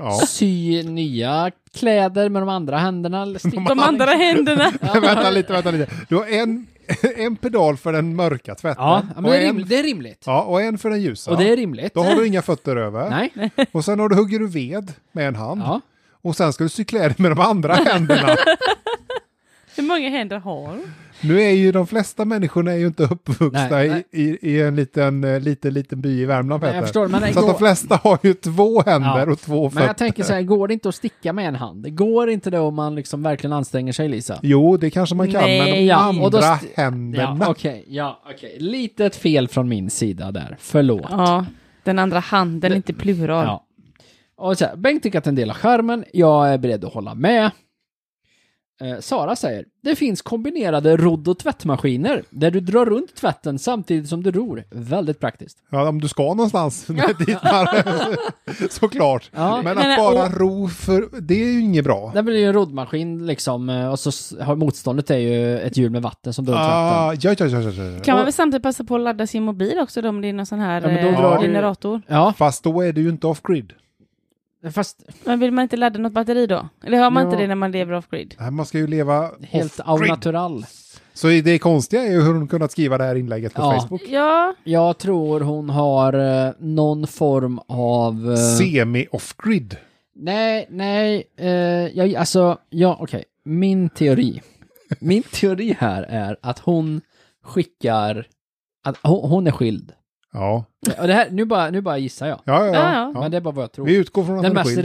Speaker 1: Ja.
Speaker 2: sy nya kläder med de andra händerna. Eller sticka.
Speaker 3: De andra händerna.
Speaker 1: vänta lite, vänta lite. Du har en, en pedal för den mörka tvätten.
Speaker 2: Ja, ja, men
Speaker 1: och,
Speaker 2: det är
Speaker 1: en,
Speaker 2: rimligt. Det är rimligt.
Speaker 1: ja, och en för den ljusa.
Speaker 2: Och det är rimligt.
Speaker 1: Då har du inga fötter över.
Speaker 2: Nej.
Speaker 1: Och sen har du, hugger du ved med en hand.
Speaker 2: Ja.
Speaker 1: Och sen ska du sy kläder med de andra händerna.
Speaker 3: Hur många händer har du?
Speaker 1: Nu är ju de flesta människorna är ju inte uppvuxna
Speaker 2: Nej, nej.
Speaker 1: I, i, i en liten, eh, liten, liten by i Värmland,
Speaker 2: Nej,
Speaker 1: Peter.
Speaker 2: jag förstår, men det
Speaker 1: Så att de
Speaker 2: går-
Speaker 1: flesta har ju två händer
Speaker 2: Ja.
Speaker 1: och två
Speaker 2: Men
Speaker 1: fötter.
Speaker 2: jag tänker så här, går det inte att sticka med en hand? Det går inte det om man liksom verkligen anstränger sig, Lisa?
Speaker 1: Jo, det kanske man kan, men de
Speaker 3: Nej, ja.
Speaker 1: andra
Speaker 2: Och då st- Ja,
Speaker 1: händerna.
Speaker 2: okej. ja, okej. Litet fel från min sida där. Förlåt.
Speaker 3: Ja, den andra handen, inte plural.
Speaker 2: Ja. Och så här, Bengt tycker att en del av skärmen. Jag är beredd att hålla med. Eh, Sara säger, det finns kombinerade rodd och tvättmaskiner där du drar runt tvätten samtidigt som du ror. Väldigt praktiskt.
Speaker 1: Ja, om du ska någonstans med dit här, såklart.
Speaker 2: Ja. eh,
Speaker 1: Men
Speaker 3: Men,
Speaker 1: att bara
Speaker 3: och-
Speaker 1: ro, för, det är ju inget bra.
Speaker 2: Det blir ju en roddmaskin liksom eh, och så s- har motståndet är ju ett hjul med vatten som drar runt tvätten.
Speaker 1: Ah, ja, ja, ja, ja, ja.
Speaker 3: Kan
Speaker 2: Och-
Speaker 3: man väl samtidigt passa på att ladda sin mobil också då, om det är någon sån här
Speaker 2: Ja, men då
Speaker 3: eh,
Speaker 1: drar du-
Speaker 3: generator?
Speaker 2: Ja,
Speaker 1: Fast då är du ju inte off-grid.
Speaker 2: fast
Speaker 3: Men vill man inte ladda något batteri då? Eller har man
Speaker 2: Ja.
Speaker 3: inte det när man lever off-grid?
Speaker 1: Nej, Man ska ju leva
Speaker 2: helt au
Speaker 1: off-grid.
Speaker 2: natural.
Speaker 1: Så det konstiga är ju hur hon kunnat skriva det här inlägget på
Speaker 2: Ja.
Speaker 1: Facebook.
Speaker 3: Ja,
Speaker 2: Jag tror hon har eh, någon form av... eh,
Speaker 1: Semi-off-grid.
Speaker 2: Nej, nej, eh, jag, alltså, ja, okej. Min teori. Min teori här är att hon skickar, att hon, hon är skild.
Speaker 1: Ja,
Speaker 2: Och det här, nu bara, nu bara gissar jag.
Speaker 1: ja, ja.
Speaker 3: Ja, ja.
Speaker 1: ja,
Speaker 2: Men det är bara vad jag tror.
Speaker 1: Vi utgår från att
Speaker 2: Den
Speaker 1: hon är
Speaker 2: mest
Speaker 1: skild.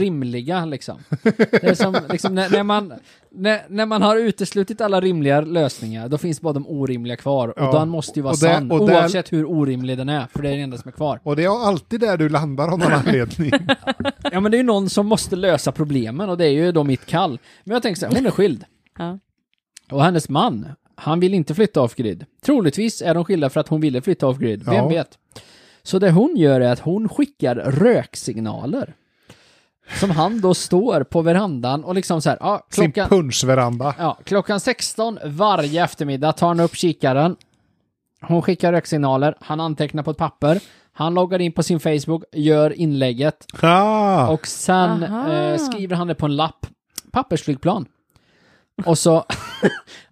Speaker 2: rimliga liksom. Det är som, liksom när, när, man, när, när man har uteslutit alla rimliga lösningar, då finns bara de orimliga kvar. Och
Speaker 1: Ja.
Speaker 2: den måste ju vara
Speaker 1: Och där-
Speaker 2: sann,
Speaker 1: och där-
Speaker 2: oavsett hur orimlig den är, för det är det enda som är kvar.
Speaker 1: Och det är alltid där du landar av någon anledning.
Speaker 2: Ja men det är ju någon som måste lösa problemen och det är ju då mitt kall. Men jag tänker så här, hon är skild.
Speaker 3: Ja.
Speaker 2: Och hennes man, han vill inte flytta off-grid. Troligtvis är de skilda för att hon ville flytta off-grid, vem
Speaker 1: Ja.
Speaker 2: vet? Så det hon gör är att hon skickar röksignaler. Som han då står på verandan och liksom så här, ja,
Speaker 1: Sin
Speaker 2: klockan,
Speaker 1: punschveranda.
Speaker 2: ja, klockan 16 varje eftermiddag tar han upp kikaren. Hon skickar röksignaler, han antecknar på ett papper. Han loggar in på sin Facebook, gör inlägget.
Speaker 1: Ah,
Speaker 2: Och sen
Speaker 3: Aha.
Speaker 2: eh, skriver han det på en lapp. Pappersflygplan. Och så,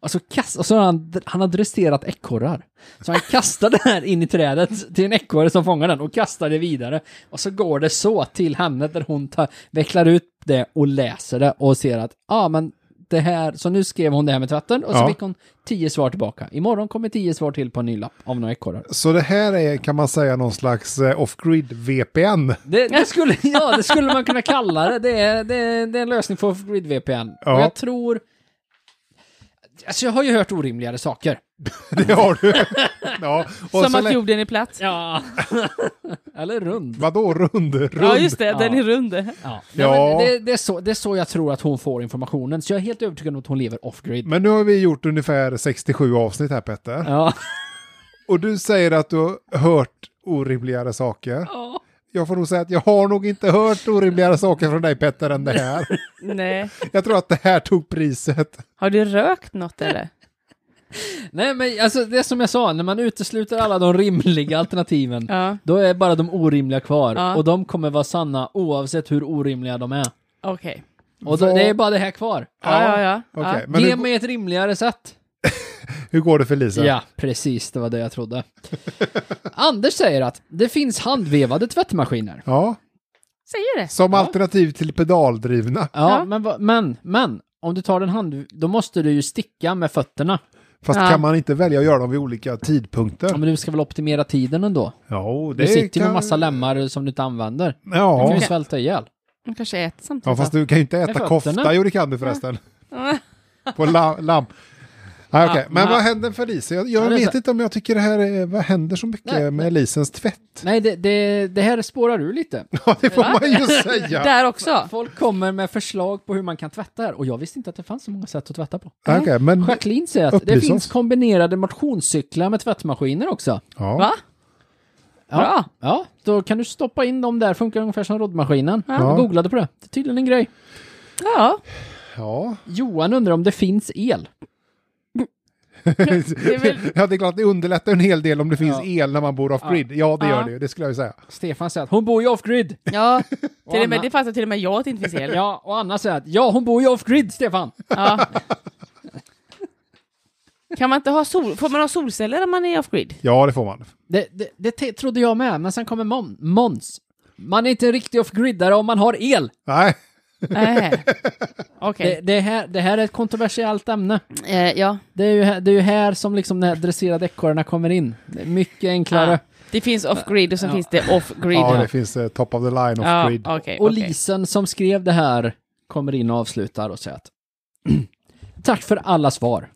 Speaker 2: och så, kast, och så har han, han har dresserat ekorrar. Så han kastar det här in i trädet till en ekorre som fångar den och kastar det vidare. Och så går det så till henne där hon tar, vecklar ut det och läser det och ser att, ja ah, men det här, så nu skrev hon det här med tvätten och så
Speaker 1: Ja.
Speaker 2: fick hon tio svar tillbaka. Imorgon kommer tio svar till på en ny lapp av några ekorrar.
Speaker 1: Så det här är, kan man säga, någon slags eh, off-grid VPN.
Speaker 2: Det, det, skulle, ja, det skulle man kunna kalla det. Det är, det är, det är en lösning för Grid VPN.
Speaker 1: Ja.
Speaker 2: Och jag tror... Alltså jag har ju hört orimligare saker.
Speaker 1: Det har du. Ja, och
Speaker 3: som
Speaker 1: så
Speaker 3: att
Speaker 1: lä-
Speaker 3: jorden är platt. Ja,
Speaker 2: Ja. Eller rund.
Speaker 1: vadå rund? rund?
Speaker 3: just det, den
Speaker 2: Ja.
Speaker 3: är rund.
Speaker 2: Ja.
Speaker 1: Ja.
Speaker 2: Nej, men det, det, är så, det är så jag tror att hon får informationen. Så jag är helt övertygad om att hon lever off-grid.
Speaker 1: Men nu har vi gjort ungefär 67 avsnitt här Petter.
Speaker 2: Ja.
Speaker 1: Och du säger att du har hört orimligare saker. Jag får nog säga att jag har nog inte hört orimligare saker från dig Petter än det här.
Speaker 3: Nej.
Speaker 1: Jag tror att det här tog priset.
Speaker 3: Har du rökt något eller?
Speaker 2: Nej men alltså det är som jag sa, när man utesluter alla de rimliga alternativen,
Speaker 3: Ja,
Speaker 2: då är bara de orimliga kvar.
Speaker 3: Ja.
Speaker 2: Och de kommer vara sanna oavsett hur orimliga de är.
Speaker 3: okej.
Speaker 2: Och då,
Speaker 1: Vad-
Speaker 2: det är bara det här kvar.
Speaker 3: Ja, ja, ja.
Speaker 1: Okej,
Speaker 3: ja.
Speaker 1: men
Speaker 2: Ge
Speaker 1: hur,
Speaker 2: mig ett rimligare sätt.
Speaker 1: hur går det för Lisa?
Speaker 2: Ja, precis. Det var det jag trodde. Anders säger att det finns handvevade tvättmaskiner.
Speaker 1: Ja,
Speaker 3: Säger det.
Speaker 1: som alternativ till pedaldrivna.
Speaker 2: Ja,
Speaker 3: Ja.
Speaker 2: Men, vad- men, men om du tar den hand, då måste du ju sticka med fötterna.
Speaker 1: Fast
Speaker 3: Ja.
Speaker 1: kan man inte välja att göra dem vid olika
Speaker 2: Ja,
Speaker 1: tidpunkter?
Speaker 2: men du ska väl optimera tiden ändå?
Speaker 1: Ja,
Speaker 2: Du sitter ju med massa lemmar som du inte använder. Du kan
Speaker 1: Ja.
Speaker 2: ju svälta ihjäl.
Speaker 3: De kanske äter
Speaker 1: ja,
Speaker 3: samtidigt.
Speaker 1: fast du kan ju inte äta
Speaker 2: fötterna.
Speaker 1: kofta. Jo, det kan du förresten. På la- lamm. Nej, okej.
Speaker 2: Ja,
Speaker 1: Men
Speaker 2: men-
Speaker 1: vad händer för Lisa? Jag,
Speaker 2: Ja,
Speaker 1: jag
Speaker 2: det är
Speaker 1: vet
Speaker 2: så-
Speaker 1: inte om jag tycker det här är, vad händer så mycket
Speaker 2: Nej,
Speaker 1: med Lisens tvätt?
Speaker 2: Nej, det, det, det här spårar ur lite.
Speaker 1: Ja, det får man ju säga.
Speaker 3: Där också.
Speaker 2: Folk kommer med förslag på hur man kan tvätta här och jag visste inte att det fanns så många sätt att tvätta på.
Speaker 1: Ja, okej, men,
Speaker 2: Jacqueline säger att det
Speaker 1: Upplys
Speaker 2: finns
Speaker 1: oss.
Speaker 2: kombinerade motionscyklar med tvättmaskiner också.
Speaker 1: ja.
Speaker 3: Va?
Speaker 2: Ja.
Speaker 3: Bra.
Speaker 2: Ja, då kan du stoppa in dem där, funkar ungefär som roddmaskinen.
Speaker 3: Ja.
Speaker 2: Jag googlade på det, det är tydligen en grej.
Speaker 3: Ja.
Speaker 1: ja.
Speaker 2: Johan undrar om det finns el.
Speaker 3: är väl-
Speaker 1: ja, det är klart, det underlättar en hel del om det finns
Speaker 2: Ja.
Speaker 1: el när man bor off-grid. Ja, det gör
Speaker 3: Ja.
Speaker 1: det ju, det skulle jag ju säga.
Speaker 2: Stefan säger att hon bor ju off-grid.
Speaker 3: Ja, till och
Speaker 2: Anna.
Speaker 3: med, det fattar till och med jag att det inte finns el.
Speaker 2: Ja, och Anna säger att ja, hon bor ju off-grid, Stefan.
Speaker 3: Ja. Kan man inte ha sol, får man ha solceller när man är off-grid?
Speaker 1: Ja, det får man.
Speaker 2: Det, det, det te- trodde jag med, men sen kommer Mon- Måns. Man är inte en riktig off-gridare om man har el.
Speaker 1: Nej,
Speaker 3: Nej.
Speaker 2: Det,
Speaker 3: Okej.
Speaker 2: det, här, det här är ett kontroversiellt ämne.
Speaker 3: Eh, ja.
Speaker 2: Det är ju, här- det är ju här som liksom den här dresserade ekorrarna kommer in. Det är mycket enklare.
Speaker 3: Ah, det finns off-grid och sen
Speaker 2: Ja.
Speaker 3: finns det off-grid.
Speaker 1: ja, det finns eh, top of the line
Speaker 3: Ja,
Speaker 1: off-grid.
Speaker 3: okej,
Speaker 2: Och
Speaker 3: okej.
Speaker 2: Lisen som skrev det här kommer in och avslutar och säger att Tack för alla svar.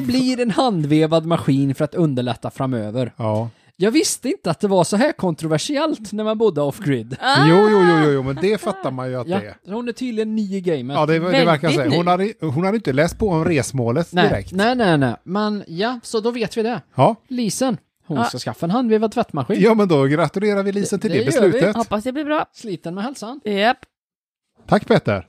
Speaker 2: blir en handvevad maskin för att underlätta framöver.
Speaker 1: Ja.
Speaker 2: Jag visste inte att det var så här kontroversiellt när man bodde off-grid.
Speaker 1: Jo, jo, jo, jo, jo, men det fattar man ju att
Speaker 2: Ah. Ja,
Speaker 1: det är.
Speaker 2: hon är tydligen ny i gamet.
Speaker 1: Ja, det, det verkar
Speaker 3: Väldigt
Speaker 1: så. Hon
Speaker 3: ny.
Speaker 1: hade, hon hade inte läst på om resmålet
Speaker 2: nej,
Speaker 1: direkt.
Speaker 2: nej, nej, nej. Men ja, så då vet vi det.
Speaker 1: Ja.
Speaker 2: Lisen, hon
Speaker 3: Ja.
Speaker 2: ska skaffa en handvevad tvättmaskin.
Speaker 1: ja, men då gratulerar vi Lisen till
Speaker 2: Det-
Speaker 1: det,
Speaker 2: det gör vi.
Speaker 1: beslutet.
Speaker 3: Hoppas det blir bra.
Speaker 2: Sliten med hälsan.
Speaker 3: Japp.
Speaker 1: Tack Peter.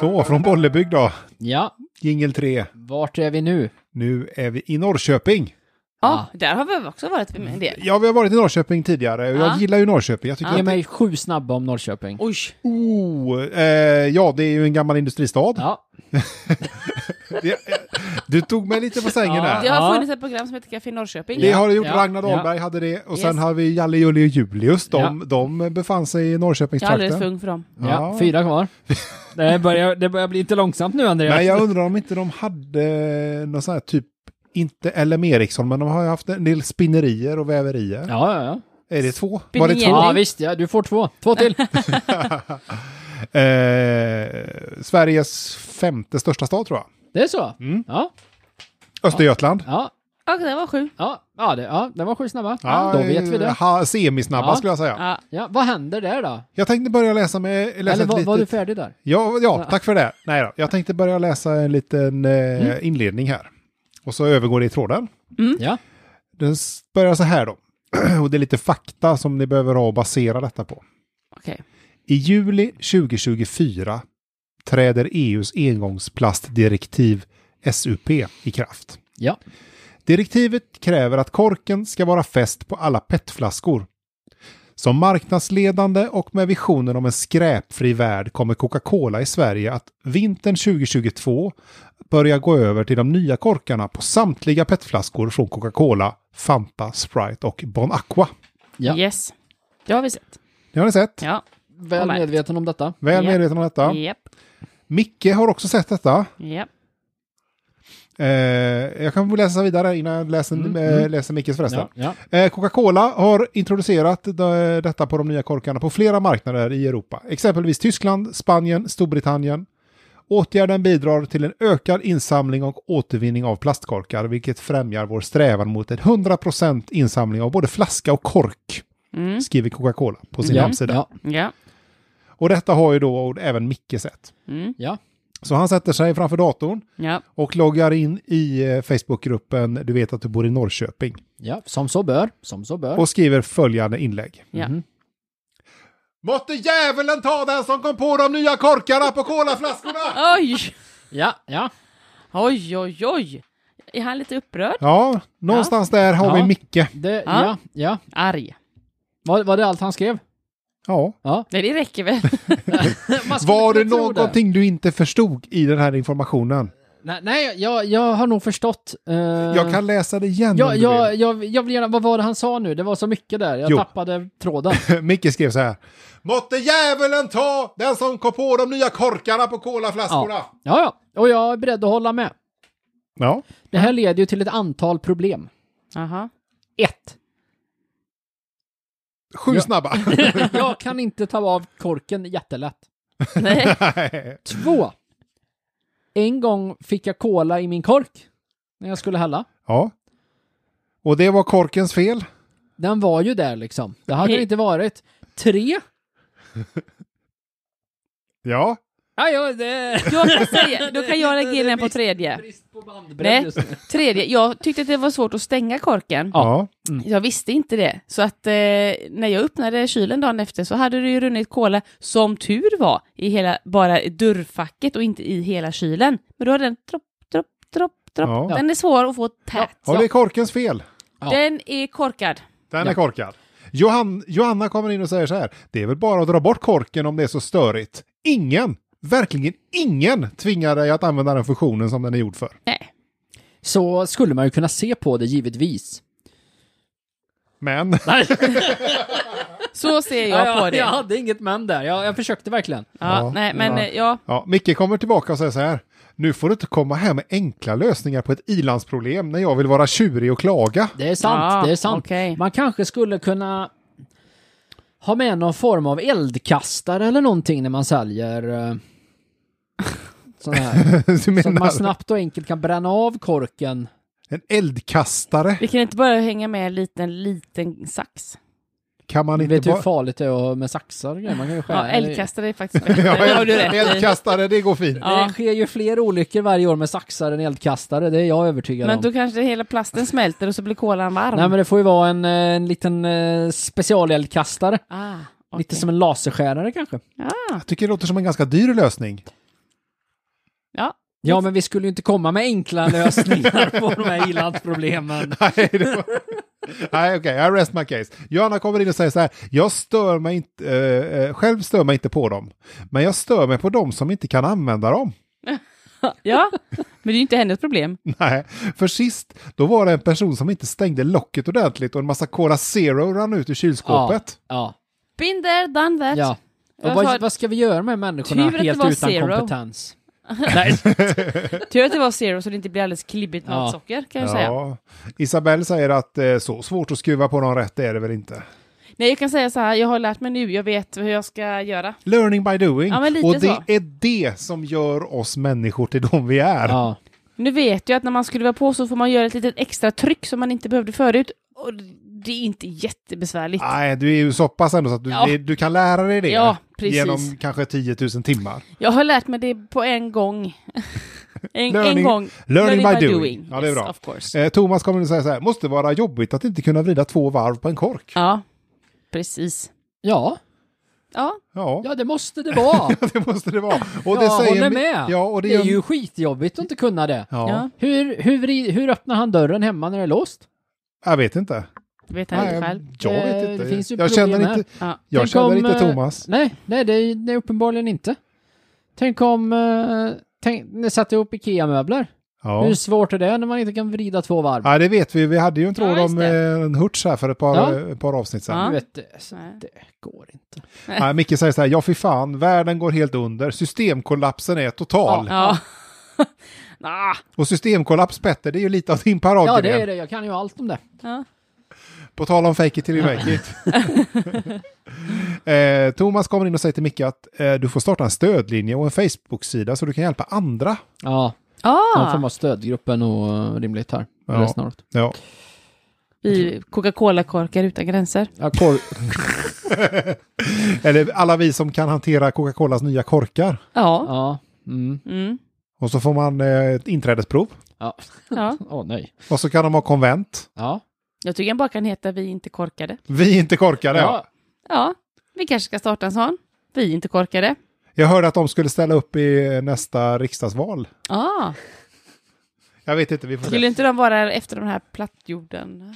Speaker 1: Så, från Bollebygd då.
Speaker 2: Ja,
Speaker 1: Jingel 3.
Speaker 2: vart är vi nu?
Speaker 1: Nu är vi i Norrköping.
Speaker 3: Ja,
Speaker 2: Ah.
Speaker 3: där har vi också varit med en del.
Speaker 1: Ja, vi har varit i Norrköping tidigare och jag
Speaker 3: Ja.
Speaker 1: gillar ju Norrköping. Jag tycker
Speaker 2: Ge
Speaker 1: att det,
Speaker 2: mig sju snabba om Norrköping.
Speaker 3: Oj.
Speaker 1: oh, eh, ja, det är ju en gammal industristad.
Speaker 2: Ja,
Speaker 1: Det, du tog mig lite på sängen
Speaker 2: Ja.
Speaker 1: där.
Speaker 3: Det
Speaker 2: Ja.
Speaker 3: har funnits ett program som heter Café Norrköping.
Speaker 1: Det har det gjort.
Speaker 2: Ja,
Speaker 1: Ragnar
Speaker 2: ja.
Speaker 1: Dahlberg hade det. Och sen
Speaker 3: Yes.
Speaker 1: har vi Jalle, Julle och Julius. De, de befann sig i
Speaker 3: Jag är alldeles för
Speaker 1: Norrköpingstrakten.
Speaker 3: ung för dem.
Speaker 2: ja.
Speaker 1: Ja.
Speaker 2: fyra kvar. Det börjar, det börjar bli lite långsamt nu, Andreas.
Speaker 1: Men jag undrar om inte de hade någon sån här typ, inte LM Ericsson, men de har ju haft en del spinnerier och väverier.
Speaker 2: Ja, ja, ja.
Speaker 1: Är det två? Var det två?
Speaker 3: Spinnerier.
Speaker 2: Ja, visst. Ja, du får två. Två till.
Speaker 1: Eh, Sveriges femte största stad tror jag.
Speaker 2: Det är så?
Speaker 1: Mm.
Speaker 2: Ja,
Speaker 1: Östergötland.
Speaker 2: ja,
Speaker 3: Ja, det var sju.
Speaker 2: ja. Ja, det, ja, det var sju snabba.
Speaker 1: Ja,
Speaker 2: Då vet vi det.
Speaker 1: Ha, semisnabba
Speaker 2: Ja.
Speaker 1: skulle jag säga.
Speaker 3: Ja.
Speaker 2: Ja, vad händer där då?
Speaker 1: Jag tänkte börja läsa med... Läsa
Speaker 2: Eller
Speaker 1: ett
Speaker 2: var,
Speaker 1: litet...
Speaker 2: var du färdig där?
Speaker 1: ja, ja, tack för det. Nej då. Jag tänkte börja läsa en liten eh,
Speaker 2: Mm.
Speaker 1: inledning här. Och så övergår det i tråden.
Speaker 2: Ja.
Speaker 1: Den s- börjar så här då. Och det är lite fakta som ni behöver ha och basera detta på.
Speaker 3: Okej.
Speaker 1: I juli 2024 träder EUs engångsplastdirektiv SUP i kraft.
Speaker 2: Ja.
Speaker 1: Direktivet kräver att korken ska vara fäst på alla PET-flaskor. Som marknadsledande och med visionen om en skräpfri värld kommer Coca-Cola i Sverige att vintern 2022 börja gå över till de nya korkarna på samtliga PET-flaskor från Coca-Cola, Fanta, Sprite och Bon Aqua.
Speaker 2: Ja.
Speaker 3: Yes. Det har vi sett.
Speaker 1: Det har ni sett.
Speaker 3: Ja.
Speaker 2: Väl
Speaker 3: Moment.
Speaker 2: medveten om detta.
Speaker 1: Väl
Speaker 3: Ja.
Speaker 1: medveten om detta.
Speaker 3: Japp.
Speaker 1: Micke har också sett detta.
Speaker 3: Japp.
Speaker 1: Eh, jag kan väl läsa vidare innan jag läser, eh, läser Mickes förresten.
Speaker 2: Ja, Mm, ja.
Speaker 1: Eh, Coca-Cola har introducerat de, detta på de nya korkarna på flera marknader i Europa. Exempelvis Tyskland, Spanien, Storbritannien. Åtgärden bidrar till en ökad insamling och återvinning av plastkorkar, vilket främjar vår strävan mot en 100% insamling av både flaska och kork,
Speaker 3: Mm.
Speaker 1: skriver Coca-Cola på sin
Speaker 2: ja,
Speaker 1: hemsida.
Speaker 2: Ja,
Speaker 3: Ja.
Speaker 1: Och detta har ju då även Micke sett.
Speaker 3: Mm.
Speaker 2: ja.
Speaker 1: Så han sätter sig framför datorn
Speaker 3: Ja.
Speaker 1: och loggar in i eh, Facebookgruppen Du vet att du bor i Norrköping
Speaker 2: ja. Som så bör. Som så bör.
Speaker 1: och skriver följande inlägg.
Speaker 3: Ja.
Speaker 1: Måtte djävulen ta den som kom på de nya korkarna på kolaflaskorna!
Speaker 3: Oj!
Speaker 2: Ja, ja.
Speaker 3: Oj, oj, oj! Är han lite upprörd?
Speaker 1: Ja, någonstans där har vi
Speaker 2: Ja.
Speaker 1: Micke.
Speaker 2: Det,
Speaker 3: Ja.
Speaker 2: ja, ja.
Speaker 3: Arg?
Speaker 2: Var, var det allt han skrev?
Speaker 1: Ja.
Speaker 2: Ja.
Speaker 3: Nej, det räcker väl?
Speaker 2: Man skulle
Speaker 1: Var det
Speaker 2: kunna tro
Speaker 1: någonting du inte förstod i den här informationen?
Speaker 2: Nej, nej jag, jag har nog förstått. eh,
Speaker 1: Jag kan läsa det igen
Speaker 2: jag,
Speaker 1: om du
Speaker 2: jag, jag, jag vill gärna, vad var det han sa nu? Det var så mycket där, jag
Speaker 1: Jo.
Speaker 2: tappade tråden.
Speaker 1: vill. Micke skrev så här. Måtte djävulen ta den som kom på de nya korkarna på kolaflaskorna!
Speaker 2: Ja. ja, ja, och jag är beredd att hålla med.
Speaker 1: Ja.
Speaker 2: Det här leder ju till ett antal problem.
Speaker 3: Aha.
Speaker 2: Ett,
Speaker 1: Sju
Speaker 2: Ja.
Speaker 1: snabba.
Speaker 2: jag kan inte ta av korken jättelätt.
Speaker 3: Nej.
Speaker 1: Nej.
Speaker 2: Två, en gång fick jag cola i min kork när jag skulle hälla.
Speaker 1: ja. Och det var korkens fel.
Speaker 2: Den var ju där liksom. Det hade det
Speaker 3: Hej.
Speaker 2: inte varit. Tre,
Speaker 1: Ja.
Speaker 2: ja, ja, det...
Speaker 3: Då kan, säga, då kan jag lägga in en på tredje.
Speaker 2: Brist på
Speaker 3: Nej.
Speaker 2: bandbredd just nu.
Speaker 3: Tredje, jag tyckte att det var svårt att stänga korken.
Speaker 2: Ja.
Speaker 1: ja.
Speaker 3: Jag visste inte det. Så att eh, när jag öppnade kylen dagen efter så hade det ju runnit kola, som tur var, i hela, bara i dörrfacket och inte i hela kylen. Men då hade den dropp, dropp, dropp, dropp.
Speaker 1: Ja.
Speaker 3: Den är svår att få tät.
Speaker 1: Och det är korkens fel.
Speaker 2: Ja.
Speaker 3: Den är korkad.
Speaker 1: Den
Speaker 2: Ja.
Speaker 1: är korkad. Johan, Johanna kommer in och säger så här. Det är väl bara att dra bort korken om det är så störigt. Ingen, verkligen ingen tvingar dig att använda den funktionen som den är gjord för.
Speaker 3: Nej.
Speaker 2: Så skulle man ju kunna se på det givetvis.
Speaker 1: Men
Speaker 2: Nej,
Speaker 3: Så ser jag på det.
Speaker 2: jag
Speaker 3: Ja,
Speaker 2: hade inget men där. Jag, jag försökte verkligen.
Speaker 1: Ja,
Speaker 3: nej, men
Speaker 1: ja.
Speaker 3: eh, ja.
Speaker 1: ja, Micke kommer tillbaka och säger så här. Nu får du inte komma här med enkla lösningar på ett ilandsproblem när jag vill vara tjurig och klaga.
Speaker 2: Det är sant,
Speaker 3: Ah,
Speaker 2: det är sant.
Speaker 3: okej.
Speaker 2: Man kanske skulle kunna ha med någon form av eldkastare eller någonting när man säljer eh, sån här.
Speaker 1: Du
Speaker 2: Så att man
Speaker 1: menar
Speaker 2: snabbt och enkelt kan bränna av korken.
Speaker 1: en eldkastare?
Speaker 3: Vi kan inte bara hänga med en liten, liten sax.
Speaker 1: Kan man
Speaker 2: Du
Speaker 1: inte
Speaker 2: vet hur
Speaker 1: bara...
Speaker 2: farligt det typ är att ha med saxar och grejer. Man kan ju
Speaker 3: Ja,
Speaker 2: skära.
Speaker 3: eldkastare är faktiskt bättre.
Speaker 1: Ja,
Speaker 3: Det har
Speaker 1: en,
Speaker 3: du rätt i.
Speaker 1: eldkastare, det går fint.
Speaker 3: Ja.
Speaker 2: Det sker ju fler olyckor varje år med saxar än eldkastare, det är jag övertygad
Speaker 3: Men
Speaker 2: om.
Speaker 3: då kanske hela plasten smälter och så blir kolan varm.
Speaker 2: Nej men det får ju vara en, eh, en liten eh, specialeldkastare.
Speaker 3: ah, okej.
Speaker 2: Lite som en laserskärare kanske.
Speaker 3: ah,
Speaker 1: Jag tycker det låter som en ganska dyr lösning.
Speaker 3: ja.
Speaker 2: Ja men vi skulle ju inte komma med enkla lösningar på de här ilandsproblemen.
Speaker 1: Nej, det var... Nej, okej, I rest my case. Johanna kommer in och säger så här, jag stör mig inte, eh, eh, själv stör mig inte på dem, men jag stör mig på dem som inte kan använda dem.
Speaker 3: ja, men det är ju inte hennes problem.
Speaker 1: Nej, för sist, då var det en person som inte stängde locket ordentligt och en massa Cola Zero rann ut ur kylskåpet.
Speaker 2: Ja.
Speaker 3: Been there, done that.
Speaker 2: ja. Och
Speaker 3: Jag sa-
Speaker 2: vad, vad ska vi göra med människorna
Speaker 3: Tur att det
Speaker 2: helt
Speaker 3: var
Speaker 2: utan
Speaker 3: zero.
Speaker 2: kompetens? Nej.
Speaker 3: Tur att det var zero så det inte blir alldeles klibbigt med
Speaker 2: Ja.
Speaker 3: allt socker kan jag säga.
Speaker 1: Isabelle säger att eh, så svårt att skruva på någon rätt är det väl inte.
Speaker 3: Nej, jag kan säga så här, jag har lärt mig nu, jag vet hur jag ska göra.
Speaker 1: Learning by doing.
Speaker 3: Ja, men lite
Speaker 1: och det
Speaker 3: så.
Speaker 1: är det som gör oss människor till de vi är.
Speaker 2: Ja.
Speaker 3: Nu vet jag att när man skruvar på så får man göra ett litet extra tryck som man inte behövde förut. Och det är inte jättebesvärligt.
Speaker 1: Nej, du är ju så pass ändå så att du,
Speaker 3: Ja.
Speaker 1: det- du kan lära dig det
Speaker 3: Ja, precis.
Speaker 1: genom kanske 10 000 timmar.
Speaker 3: Jag har lärt mig det på en gång. en, en
Speaker 1: Learning-
Speaker 3: gång.
Speaker 1: Learning, by, doing. Ja, det är
Speaker 3: Yes,
Speaker 1: bra.
Speaker 3: Of course.
Speaker 1: Eh, Thomas kommer att säga så här, måste vara jobbigt att inte kunna vrida två varv på en kork.
Speaker 3: Ja, precis.
Speaker 2: Ja.
Speaker 3: Ja,
Speaker 1: Ja,
Speaker 2: ja, det måste det vara.
Speaker 1: det måste det vara. Och
Speaker 2: Och
Speaker 1: det
Speaker 2: jag
Speaker 1: säger
Speaker 2: håller
Speaker 1: Mi-
Speaker 2: med.
Speaker 1: Ja, och det,
Speaker 2: det är
Speaker 1: gör-
Speaker 2: ju skitjobbigt att inte kunna det.
Speaker 1: Ja,
Speaker 3: ja.
Speaker 2: Hur, hur, vri- hur öppnar han dörren hemma när det är låst?
Speaker 1: jag vet inte.
Speaker 3: det vet jag inte
Speaker 1: Nej,
Speaker 3: själv.
Speaker 1: jag vet
Speaker 2: Eh,
Speaker 1: inte.
Speaker 2: det finns ju
Speaker 1: jag
Speaker 2: problem
Speaker 1: känner
Speaker 2: här.
Speaker 1: inte,
Speaker 3: Ja.
Speaker 1: jag
Speaker 2: Tänk
Speaker 1: känner
Speaker 2: om,
Speaker 1: inte
Speaker 2: eh,
Speaker 1: Thomas.
Speaker 2: Nej, nej det, är, det är uppenbarligen inte. Tänk om... Eh, tänk, ni satte ihop IKEA-möbler.
Speaker 1: Ja.
Speaker 2: Hur svårt är det när man inte kan vrida två varv?
Speaker 1: ja, det vet vi. Vi hade ju en tråd
Speaker 3: Ja, just
Speaker 1: om
Speaker 3: det.
Speaker 1: eh, en Hurts här för ett par, eh,
Speaker 2: Ja.
Speaker 1: ett par avsnitt sedan.
Speaker 3: Ja.
Speaker 2: Du vet, det, så
Speaker 3: Nej.
Speaker 2: det går inte.
Speaker 1: Nej, Micke säger så här, ja fy fan, världen går helt under, systemkollapsen är total.
Speaker 3: Ja. Ah,
Speaker 1: Och systemkollaps Petter, det är ju lite av din paradgren.
Speaker 2: Ja, det är det. Jag kan ju allt om det.
Speaker 3: ja.
Speaker 1: På tal om fake it till you make it. eh, Thomas kommer in och säger till Micke att eh, du får starta en stödlinje och en Facebook-sida så du kan hjälpa andra.
Speaker 2: Ja, någon form
Speaker 3: Ah,
Speaker 2: av stödgrupp är nog eh, rimligt här.
Speaker 1: Ja.
Speaker 2: Eller snart.
Speaker 1: Ja.
Speaker 3: i Coca-Cola-korkar utan gränser.
Speaker 2: Ja, kor-
Speaker 1: Eller alla vi som kan hantera Coca-Colas nya korkar.
Speaker 3: Ja.
Speaker 2: ja. Mm.
Speaker 3: Mm.
Speaker 1: Och så får man eh, ett inträdesprov.
Speaker 2: Ja.
Speaker 3: ja.
Speaker 2: Åh nej.
Speaker 1: Och så kan de ha konvent.
Speaker 2: Ja.
Speaker 3: Jag tycker den bara kan heta Vi är inte korkade.
Speaker 1: Vi är inte korkade. Ja.
Speaker 3: Ja, vi kanske ska starta en sån. Vi är inte korkade.
Speaker 1: Jag hörde att de skulle ställa upp i eh, nästa riksdagsval.
Speaker 3: Ah,
Speaker 1: Jag vet inte, vi får se.
Speaker 3: skulle inte de vara efter den här plattjorden?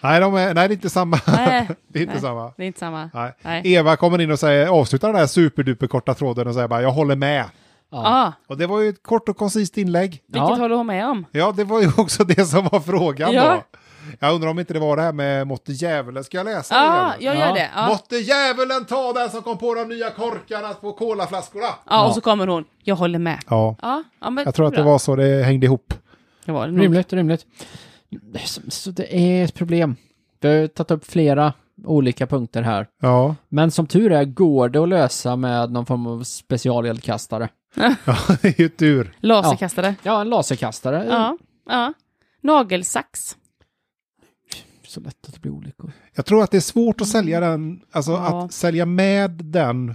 Speaker 1: Nej, de är, nej, det är inte samma.
Speaker 3: Nej,
Speaker 1: det är inte
Speaker 3: nej.
Speaker 1: samma.
Speaker 3: det är inte samma.
Speaker 1: Nej.
Speaker 3: Nej.
Speaker 1: Eva kommer in och säger, avslutar den här superduper korta tråden och säger bara jag håller med.
Speaker 3: Ah,
Speaker 1: Och det var ju ett kort och koncist inlägg.
Speaker 3: vilket
Speaker 2: Ja.
Speaker 3: håller hon med om?
Speaker 1: Ja, det var ju också det som var frågan
Speaker 3: Ja.
Speaker 1: då. Jag undrar om inte det var det här med måtte djävulen. Ska jag läsa det?
Speaker 3: Ja,
Speaker 1: igen?
Speaker 3: jag
Speaker 2: Ja.
Speaker 3: gör det. Ja,
Speaker 1: Måtte djävulen ta den som kom på de nya korkarna på kolaflaskorna.
Speaker 3: ja och så kommer hon. Jag håller med.
Speaker 1: Ja,
Speaker 3: Ja, ja men
Speaker 1: jag tror att det
Speaker 3: bra.
Speaker 1: var så det hängde ihop.
Speaker 3: Det var det nog.
Speaker 2: Rimligt, rimligt. Det är som- Så det är ett problem. Vi har ju tagit upp flera olika punkter här.
Speaker 1: Ja,
Speaker 2: Men som tur är går det att lösa med någon form av specialeldkastare.
Speaker 1: ja det är ju tur.
Speaker 3: Laserkastare.
Speaker 2: Ja, en laserkastare.
Speaker 3: Ja. ja. Nagelsax.
Speaker 2: Så lätt att det blir olyckor.
Speaker 1: Jag tror att det är svårt att sälja den, alltså
Speaker 3: Mm. Ja.
Speaker 1: att sälja med den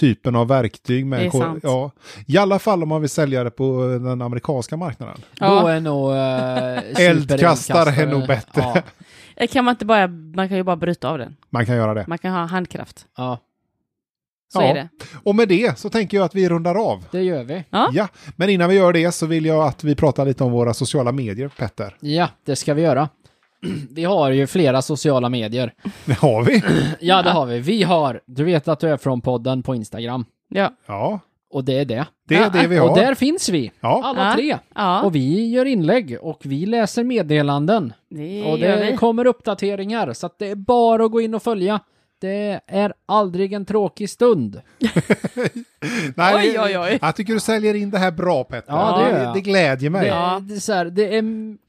Speaker 1: typen av verktyg. Med
Speaker 3: Det är
Speaker 1: kol-
Speaker 3: sant.
Speaker 1: Ja. I alla fall om man vill sälja det på den amerikanska marknaden.
Speaker 2: Då
Speaker 3: Ja.
Speaker 2: är nog... Eh,
Speaker 1: Eldkastare är nog
Speaker 2: supereldkastare-
Speaker 1: bättre.
Speaker 2: Ja,
Speaker 3: Eh, Kan man inte bara, man kan ju bara bryta av den.
Speaker 1: Man kan göra det.
Speaker 3: Man kan ha handkraft.
Speaker 2: ja.
Speaker 3: Så
Speaker 1: Ja.
Speaker 3: är det.
Speaker 1: Och med det så tänker jag att vi rundar av.
Speaker 2: Det gör vi.
Speaker 3: Ja.
Speaker 1: Ja, men innan vi gör det så vill jag att vi pratar lite om våra sociala medier, Petter.
Speaker 2: Ja, det ska vi göra. Vi har ju flera sociala medier.
Speaker 1: Det har vi.
Speaker 2: Ja, det har vi. Vi har, du vet att du är från podden på Instagram.
Speaker 3: Ja.
Speaker 1: Ja,
Speaker 2: Och det är det.
Speaker 1: det är det vi
Speaker 2: Och
Speaker 1: har.
Speaker 2: där finns vi.
Speaker 1: Ja,
Speaker 2: Alla
Speaker 3: Ja.
Speaker 2: tre.
Speaker 3: Ja.
Speaker 2: Och vi gör inlägg och vi läser meddelanden.
Speaker 3: Det
Speaker 2: Och
Speaker 3: gör
Speaker 2: det
Speaker 3: vi.
Speaker 2: kommer uppdateringar, så att det är bara att gå in och följa. Det är aldrig en tråkig stund.
Speaker 1: nej,
Speaker 3: Oj, oj, oj.
Speaker 1: Jag tycker du säljer in det här bra, Petter.
Speaker 2: Ja, det gör jag.
Speaker 1: det glädjer mig.
Speaker 2: Det,
Speaker 1: Ja.
Speaker 2: det, är så här, det är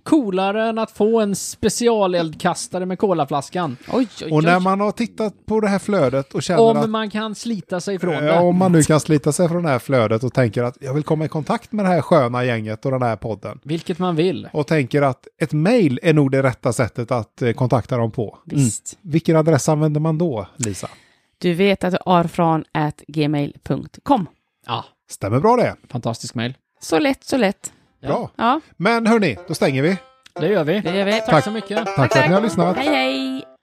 Speaker 2: coolare än att få en specialeldkastare med kolaflaskan.
Speaker 3: Oj, oj,
Speaker 1: Och
Speaker 3: oj.
Speaker 1: när man har tittat på det här flödet och känner att
Speaker 2: Om man kan slita sig från
Speaker 1: Ja,
Speaker 2: det.
Speaker 1: om man nu kan slita sig från det här flödet och tänker att jag vill komma i kontakt med det här sköna gänget och den här podden.
Speaker 2: Vilket man vill.
Speaker 1: Och tänker att ett mejl är nog det rätta sättet att eh, kontakta dem på.
Speaker 3: Visst.
Speaker 1: Vilken adress använder man då, Lisa?
Speaker 3: Du vet att du arfran at gmail.com.
Speaker 2: Ja,
Speaker 1: Stämmer bra det.
Speaker 2: fantastisk mail.
Speaker 3: Så lätt, så lätt.
Speaker 1: Bra.
Speaker 3: Ja,
Speaker 1: Men hörni, då stänger vi.
Speaker 2: Det gör vi.
Speaker 3: det gör vi.
Speaker 2: Tack så mycket.
Speaker 1: Tack för att ni har lyssnat.
Speaker 3: Hej, hej.